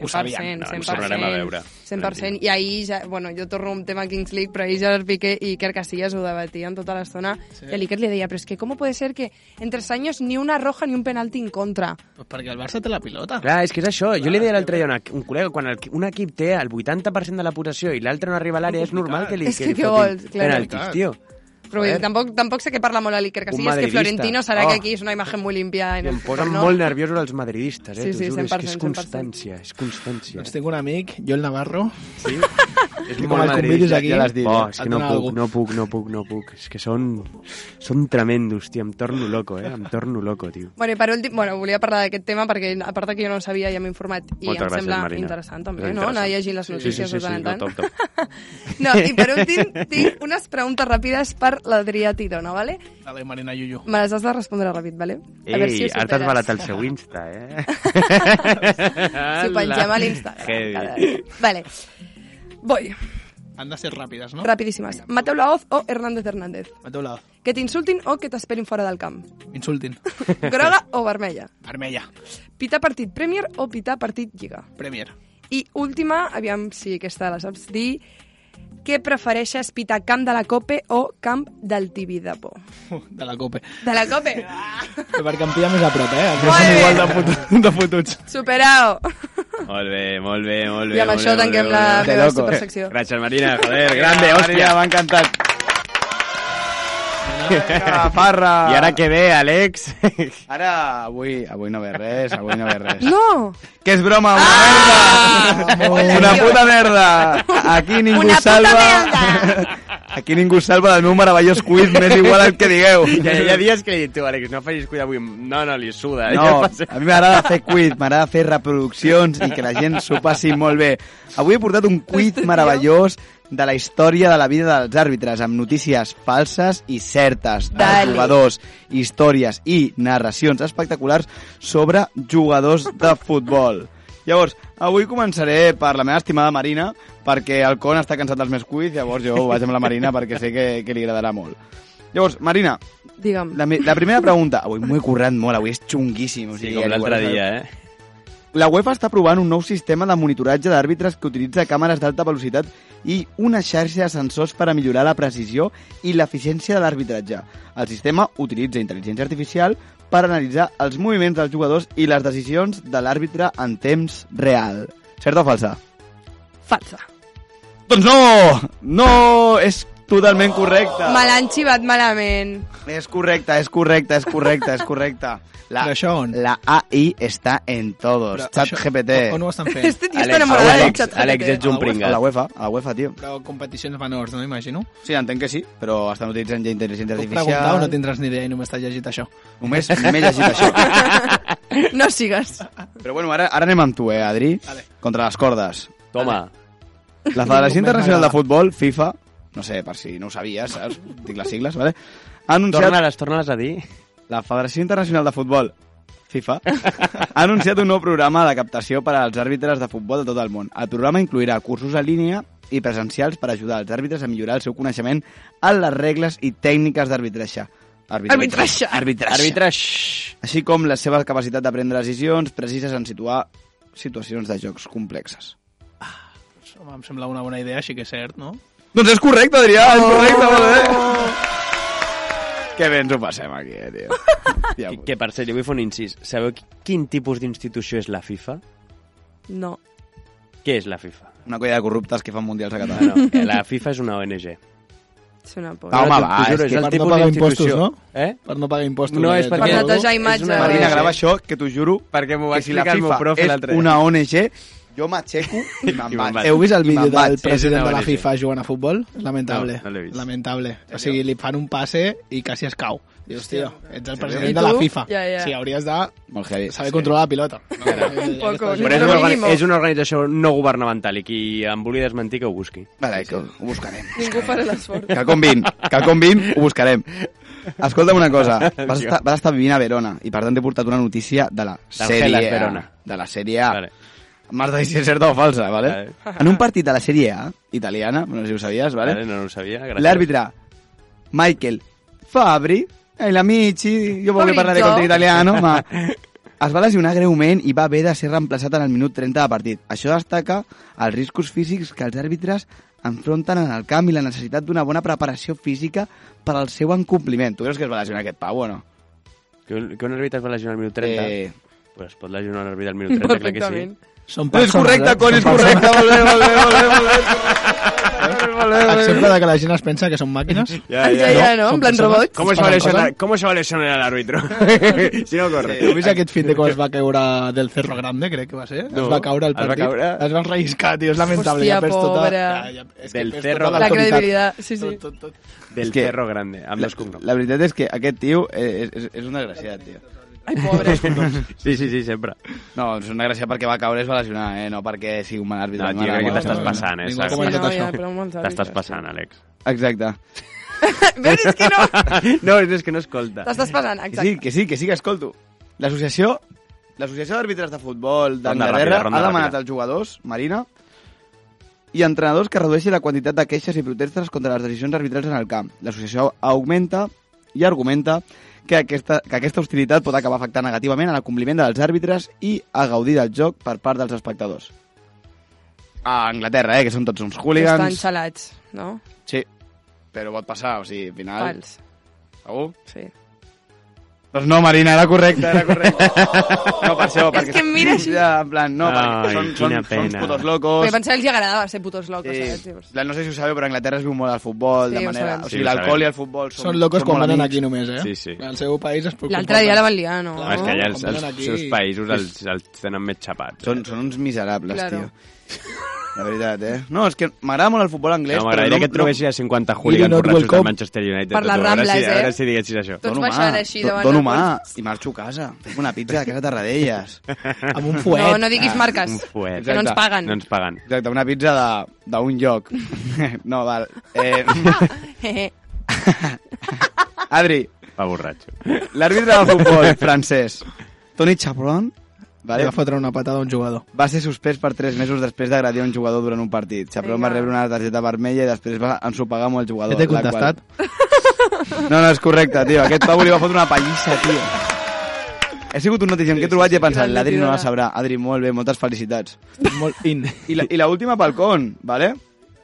A: Ho
D: 100%,
A: sabien.
C: No,
D: 100%.
C: ens ho tornarem a veure.
D: 100%. I ahir ja, bueno, jo torno a un tema Kings League, però ahir Gerard Piqué i Iker Casillas ho debatien tota l'estona, sí.
A: Sí.
D: i a l'Iker li deia, però és que com puede ser que en tres anys ni una roja ni un penalti en contra?
A: Pues doncs perquè el Barça té la pilota.
C: Clar, és que és això. Jo li deia l'altre dia a una- un col·lega, quan el, un equip té el 80% de la possessió i l'altre no arriba a <laughs> l'àrea, és normal que li,
D: És que
C: li
D: què
C: fotin
D: vols, clar.
C: penaltis, tio.
D: Però vull dir,
C: Joder.
D: tampoc, tampoc sé que parla molt a l'Iker Casillas, que
C: madridista.
D: Florentino serà
C: Oh.
D: que aquí és una imatge molt limpia. En
C: I <laughs> em
D: el
C: posen
D: no?
C: molt nerviosos els madridistes, eh?
D: Sí,
C: t'ho
D: sí,
C: juro, és que
D: 100%,
C: és
D: 100%.
C: constància, és constància.
A: Doncs tinc un amic, jo el Navarro,
C: Sí? és
A: com el convidis aquí,
B: ja l'has dit.
C: Oh, és
A: et
C: que no
A: dona
C: puc,
A: algú.
C: no puc, no puc, no puc. És que són, són tremendos, tio. Em torno loco, eh? Em torno loco, tio.
D: Bueno, i per últim, bueno, volia parlar d'aquest tema perquè, a part de que jo no en sabia, ja m'he informat i
C: Moltes
D: em
C: gràcies,
D: sembla
C: Marina.
D: interessant també,
C: És
D: no? Anar
C: interessant.
D: llegint les
C: Sí,
D: notícies
C: sí, sí,
D: de tant en
C: sí, no,
D: tant. <laughs>
C: top,
D: no, i per últim tinc unes preguntes ràpides per l'Adrià Tirona, ¿vale?
A: a la Marina Yuyu.
D: Me les has de respondre ràpid, ¿vale?
C: Ei,
D: ho
C: ara t'has
D: superes.
C: balat el seu Insta, eh?
D: Si ho pengem a l'Instagram.
C: Heavy.
D: Vale. Voy,
A: Han de ser ràpides, no?
D: rapidíssimas. Mateu Laoz o Hernández Hernández?
A: A teu lado.
D: Que t'insultin o que t'esperin fora del
C: <laughs>
D: camp?
A: Insultin.
D: Groga o vermella?
A: Vermella.
D: Pitar partit Premier o pitar partit Lliga?
A: Premier.
D: I última, aviam si aquesta la saps dir, què prefereixes pitar camp de la Cope o camp del Tibidabo?
A: Uh, de la Cope.
D: De la <laughs> Cope!
A: Que perquè em pilla més a prop, eh? Els dos
D: Molt
A: són
D: bé.
A: igual de, putu de fotuts.
D: Superau!
C: Molt bé, molt bé, molt bé.
D: I amb
C: molt bé,
D: això
C: molt
D: tanquem
C: bé,
D: la
C: molt bé.
D: meva
B: loco.
D: supersecció.
C: Gràcies, Marina. Joder, grande,
B: Marina,
C: hòstia.
B: m'ha encantat. Vinga, Farra!
C: I ara que ve, Àlex... <laughs>
B: Ara, avui, avui no ve res, avui no ve
D: <laughs>
B: res.
D: No!
B: Que és broma, una merda! Una puta merda! Aquí ningú
D: Ah. Una puta
B: salva...
D: merda.
B: Aquí ningú salva del meu meravellós quiz, m'és igual el que digueu.
C: Ja, hi ha dies que li he dit, tu, Àlex, no facis cuida avui. No, no, li suda.
B: No,
C: Ja
B: a mi m'agrada fer quiz, m'agrada fer reproduccions i que la gent s'ho passi molt bé. Avui he portat un quiz meravellós de la història de la vida dels àrbitres, amb notícies falses i certes dels
D: Dale.
B: jugadors, històries i narracions espectaculars sobre jugadors de futbol. Llavors, avui començaré per la meva estimada Marina, perquè el Con està cansat dels meus quiz, llavors jo vaig amb la Marina perquè sé que, que li agradarà molt. Llavors, Marina,
D: Digue'm.
B: la, me- la primera pregunta... Avui m'ho he currat molt, avui és xunguíssim. O
C: Sí,
B: sigui,
C: com l'altre
B: igual-
C: dia, eh?
B: La UEFA està provant un nou sistema de monitoratge d'àrbitres que utilitza càmeres d'alta velocitat i una xarxa de sensors per a millorar la precisió i l'eficiència de l'arbitratge. El sistema utilitza intel·ligència artificial per analitzar els moviments dels jugadors i les decisions de l'àrbitre en temps real. Certa o falsa?
D: Falsa.
B: Doncs no! No! És totalment correcte.
D: Me l'han xivat malament.
B: És correcte, és correcte, és correcte, és correcte. La,
A: Però això on?
B: la AI està en todos.
A: Però
B: Chat
A: això-
B: GPT.
A: On, on ho estan <laughs> fent?
D: Este tio està enamorat del
C: Àlex,
D: xat.
C: Àlex, ets
B: A la
C: un
A: A la web.
C: pringat.
B: UEFA, a la UEFA, tio.
A: Però competicions menors, no imagino.
B: Sí, entenc que sí, però estan utilitzant ja intel·ligència
A: Puc
B: artificial.
A: preguntar o no tindràs ni idea i només t'has llegit això?
B: Només m'he llegit això.
D: No sigues.
B: Però bueno, ara, ara anem amb tu, eh, Adri?
A: Vale.
B: Contra les cordes.
C: Toma,
B: <laughs> La Federació
A: M'agrada.
B: Internacional de Futbol, FIFA, no sé, per si no ho sabies, saps? Dic les sigles, vale? Ha anunciat...
C: torna-les, torna-les a dir.
B: La Federació Internacional de Futbol, FIFA, ha anunciat un nou programa de captació per als àrbitres de futbol de tot el món. El programa incloirà cursos en línia i presencials per ajudar els àrbitres a millorar el seu coneixement en les regles i tècniques d'arbitratge.
D: Arbitratge.
B: Arbitratge.
C: Àrbitre, xxxt.
B: Així com la seva capacitat de prendre decisions precises en situar situacions de jocs complexes.
A: Home, em sembla una bona idea, així que és cert, no? Oh!
B: Doncs és correcte, Adrià, és correcte, molt bé. Que bé ens ho passem aquí, eh, <laughs> tio. Hòstia
C: Que,
B: puta.
C: que, per cert, jo vull fer un incís. Sabeu qui- quin tipus d'institució és la FIFA?
D: No.
C: Què és la FIFA?
B: Una colla de corruptes que fan mundials a Catalunya.
C: No, no, eh, <laughs> la FIFA és una ONG.
D: És una por.
B: Va, Ah, home,
C: T'ho- t'ho
B: va,
C: juro,
B: és que
C: el
A: per no
C: tipus
A: pagar
C: d'institució.
A: impostos,
C: Eh?
A: Per no pagar impostos.
C: No, és
A: eh,
C: perquè...
A: tot.
D: netejar imatges.
C: és una
B: Marina,
D: ONG.
B: grava això, que t'ho juro,
C: Perquè m'ho va
B: que si la
C: explicar el meu
B: FIFA
C: profe
B: és
C: l'altre dia.
B: una ONG, jo m'aixeco
C: <laughs>
B: i me'n
C: I me'n
B: vaig.
C: vaig.
A: Heu vist el vídeo
B: Me'n vaig,
A: del
B: és
A: president
C: una
A: de la
C: ONG.
A: FIFA jugant a futbol? Lamentable.
C: No, no l'he vist.
A: Lamentable. O sigui, li fan un passe i quasi es cau. Dius, tio, ets el
D: I
A: president
D: tu?
A: de la FIFA.
D: Ja, ja.
A: Sí, hauries de
B: Molt heavy.
A: saber controlar la pilota. Un
C: Però
D: poco,
C: és,
D: Lo
C: una organi-
D: mínimo.
C: és una organització no governamental i qui em vulgui desmentir que ho busqui.
B: Vale, que ho buscarem.
D: Ningú farà l'esforç.
B: Que convin, que convin, ho buscarem. Escolta'm una
C: <laughs>
B: cosa, vas estar, vas estar vivint a Verona i per tant t'he portat una notícia de la sèrie
C: Hellas
B: A.
C: Verona.
B: De la sèrie A.
C: Vale.
B: M'has de dir si és certa o falsa, vale? En un partit de la sèrie A, italiana, no sé si ho sabies, vale?
C: Vale, no ho sabia, gràcies.
B: L'àrbitre, Michael Fabri, e gli amici, io voglio
D: Fabrizio.
B: parlare con te italiano, ma es va lesionar greument i va haver de ser reemplaçat en el minut 30 de partit. Això destaca els riscos físics que els àrbitres enfronten en el camp i la necessitat d'una bona preparació física per al seu incompliment. Tu creus que es va lesionar aquest pau o no?
C: Que un, que un àrbitre es va lesionar al minut 30? Eh...
B: Eh,
C: Pues es pot lesionar un àrbitre al minut 30, clar que sí.
D: Perfectament.
A: Són eh?
B: és correcte, Con, és correcte. Molt bé, molt bé, molt bé, molt bé. Molt bé, molt bé.
A: Exemple de que la gent es pensa que són màquines.
D: Ja, ja, no? En plan robots.
A: Com es va lesionar-
C: ¿Cómo se va a lesionar el
D: <laughs>
C: árbitro? si no corre.
A: Heu vist aquest fin de quan es va caure del Cerro Grande, crec que va ser?
C: No.
A: es va caure el
C: Es va
A: partit.
C: caure.
A: Es va relliscar, tio, és lamentable.
D: Hòstia,
A: ja perds tota...
D: pobre.
A: Ja, ja, és que
C: Del
A: perds
C: Cerro
A: tota
D: La
A: l'autoritat.
D: credibilitat, sí, sí.
A: Tot, tot, tot.
C: Del
B: És que-
C: Cerro Grande, amb
B: La,
C: dos cognoms.
B: la veritat és que aquest tio eh, és, és un desgraciat, tio.
D: Ai, pobre.
C: Sí, sí, sí, sempre.
B: No, és una gràcia perquè va caure es va lesionar, eh? No perquè sigui un mal àrbitre.
C: No,
B: un
C: tio,
B: mal
C: crec que
B: àrbitre.
A: no,
C: t'estàs
A: no,
C: passant, eh?
A: ningú
C: saps?
A: ha comentat
D: No, ja, però molts àrbitres.
C: T'estàs
D: <laughs>
C: passant, Àlex.
B: Exacte.
D: Veus, és que no...
C: <laughs> No, és que no escolta.
D: T'estàs passant,
B: Que sí,
D: exacte.
B: que sí, que sí, que escolto. L'associació L'associació d'àrbitres de futbol
C: Ronda
B: d'Anglaterra
C: ràpida, ronda
B: ha demanat
C: ràpida.
B: als jugadors, Marina, i entrenadors que redueixi la quantitat de queixes i protestes contra les decisions arbitrals en el camp. L'associació augmenta i argumenta que aquesta, que aquesta hostilitat pot acabar afectant negativament a l'acompliment dels àrbitres i a gaudir del joc per part dels espectadors. A Anglaterra, eh, que són tots uns
D: Estan
B: hooligans.
D: xalats, no?
B: Sí, però pot passar, o sigui, al final...
D: Fals.
B: Segur?
D: Sí.
B: Doncs no, Marina, era correcte, era
C: <laughs>
B: correcte. No, per això,
D: És
B: perquè...
D: que em mira així.
B: Ja, en plan, no, perquè
C: Ai,
B: són, són, són
C: quina
B: uns
C: pena.
B: putos
D: Perquè
B: locos.
D: pensava que els agradava ser putos locos,
B: Sí.
D: saps? Llavors.
B: En plan, no sé si ho sabeu, però a Anglaterra es viu molt al futbol,
D: Sí,
B: de
D: ho
B: manera...
D: sabem.
B: O
C: Sí,
B: sigui,
C: ho
B: l'alcohol
C: sabem.
B: i el futbol són,
A: Són locos
B: són
A: com
B: molt
A: venen
B: amics.
A: aquí només, eh?
C: Sí, sí.
A: Al seu país es preocupen.
D: L'altre dia la van liar, no?
A: No,
C: Home, és que allà els, els,
A: Com venen aquí.
C: seus països els, els tenen més xapats.
B: Són, són uns miserables,
D: Claro.
B: tio. La veritat, eh? No, és que m'agrada molt el futbol anglès,
C: No,
B: però
C: M'agradaria que et trobessis a 50 hooligans
A: Not
C: borratxos del
A: welcome.
C: Manchester United.
D: Per les
C: tu, a veure si-
D: Rambles, eh?
C: A veure si diguessis això.
D: Tot- Tots
B: dono mà,
D: baixant així
B: do-
D: davant
B: Dono
D: de
B: mà
D: quants-
B: i marxo a casa. Fem una pizza a casa Tarradellas.
A: Amb un fuet.
D: No, no diguis marques,
C: Un fuet.
D: que no ens
B: Exacte.
D: paguen.
C: Pues, No ens paguen.
B: Exacte, una pizza de- d'un lloc. <laughs> No, val. Eh, <laughs> Adri,
C: Va
D: <laughs>
C: borratxo.
B: L'àrbitre de futbol francès, Toni Chaperon,
A: Li
B: vale,
A: va fotre una patada a un jugador.
B: va ser suspès per 3 mesos després d'agredir un jugador durant un partit. Chaperon
D: Vinga.
B: va rebre una targeta vermella i després va ensopegar amb el jugador.
A: Ja t'he
B: la qual-
A: contestat.
B: No, no, és correcte, tio. Aquest pavo li va fotre una pallissa, tio. He sigut un notícia que he trobat i he pensat,
D: Gran
B: l'Adri no la sabrà.
D: notidora.
B: Adri, molt bé, moltes felicitats.
A: Estic Molt in.
B: I la, i la última pel con, vale?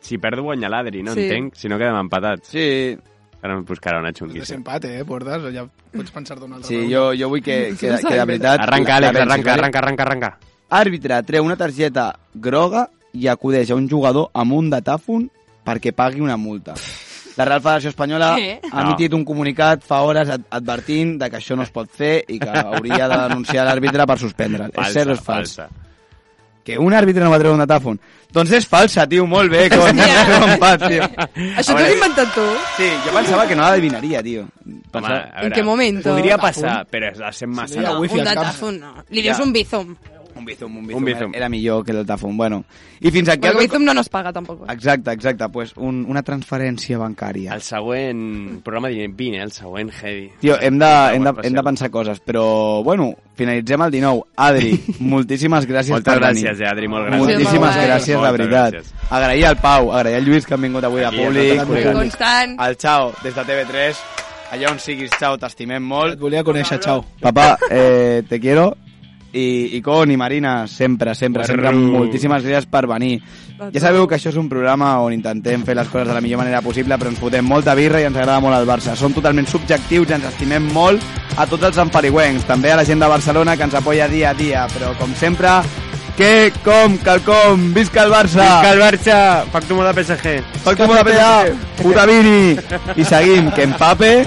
C: Si perdo guanya l'Adri, no
D: Sí.
C: sí. entenc. Si no quedem empatats.
B: Sí,
C: Ara em buscarà una xunguíssima.
A: Desempate, eh, portes? Ja pots pensar d'un altre.
B: sí jo, jo vull que, que, que de veritat...
C: Arranca,
B: la- la
C: Àlex,
B: pensis,
C: arranca,
B: vale?
C: arranca, arranca, arranca.
B: Àrbitre treu una targeta groga i acudeix a un jugador amb un datàfon perquè pagui una multa. La Real Federació Espanyola
F: Sí.
B: ha
C: No.
B: emitit un comunicat fa hores ad- advertint de que això no es pot fer i que hauria de denunciar l'àrbitre per suspendre. És cert o és fals? Que un àrbitre no va treure un datàfon. Doncs és falsa, tio, molt bé, com
F: Hòstia.
B: <laughs> com fa, tio.
D: <laughs> Això t'ho has inventat tu?
B: Sí, jo pensava que no l'adivinaria, tio.
E: Home,
B: Pensava...
E: a
D: ¿En
E: veure,
D: qué momento?
E: Podria passar, però és la sent massa.
A: Hi ha
D: No, un
A: wifi als camps.
D: datazón, no. Li dius un bizum.
B: Un bizum, un
E: Un bizum.
B: Era millor que el datàfon, bueno. I fins aquí...
D: Perquè el
B: el-
D: bizum no nos paga, tampoc. eh?
B: Exacte, exacte, pues un, una transferència bancària.
E: El següent programa de 20, eh? el següent heavy.
B: Tio, hem de, hem, de,
E: Següent
B: hem de pensar coses, però, bueno, finalitzem el 19.
E: <laughs>
B: Adri, moltíssimes gràcies
E: Moltes
B: per venir.
E: gràcies, eh, Adri, molt gràcies.
B: Moltíssimes
D: Moltes
B: gràcies, de
E: Moltes
B: veritat.
E: gràcies.
B: Agrair al Pau, agrair al Lluís que han vingut avui de
E: Aquí, a
B: públic.
E: tota la
B: cuidant.
D: Constant.
B: El Xau, des de TV3, allà on siguis, Xau, t'estimem
A: Et
B: molt.
A: volia conèixer, xau.
B: Papà, eh, te quiero. I, I Con i Marina, sempre, sempre, sempre,
E: Guarru.
B: moltíssimes gràcies per venir.
D: Guarru.
B: Ah, Ja sabeu que això és un programa on intentem fer les coses de la millor manera possible, però ens fotem molta birra i ens agrada molt el Barça. Som totalment subjectius i ens estimem molt a tots els enfarigüencs, també a la gent de Barcelona que ens apoya dia a dia, però com sempre, que com, calcom, visca el Barça!
E: Visca el Barça! Pacto molt de PSG.
B: Soy como la pelea, puta Vini. Y seguim, que empape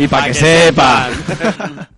B: y pa' que sepan.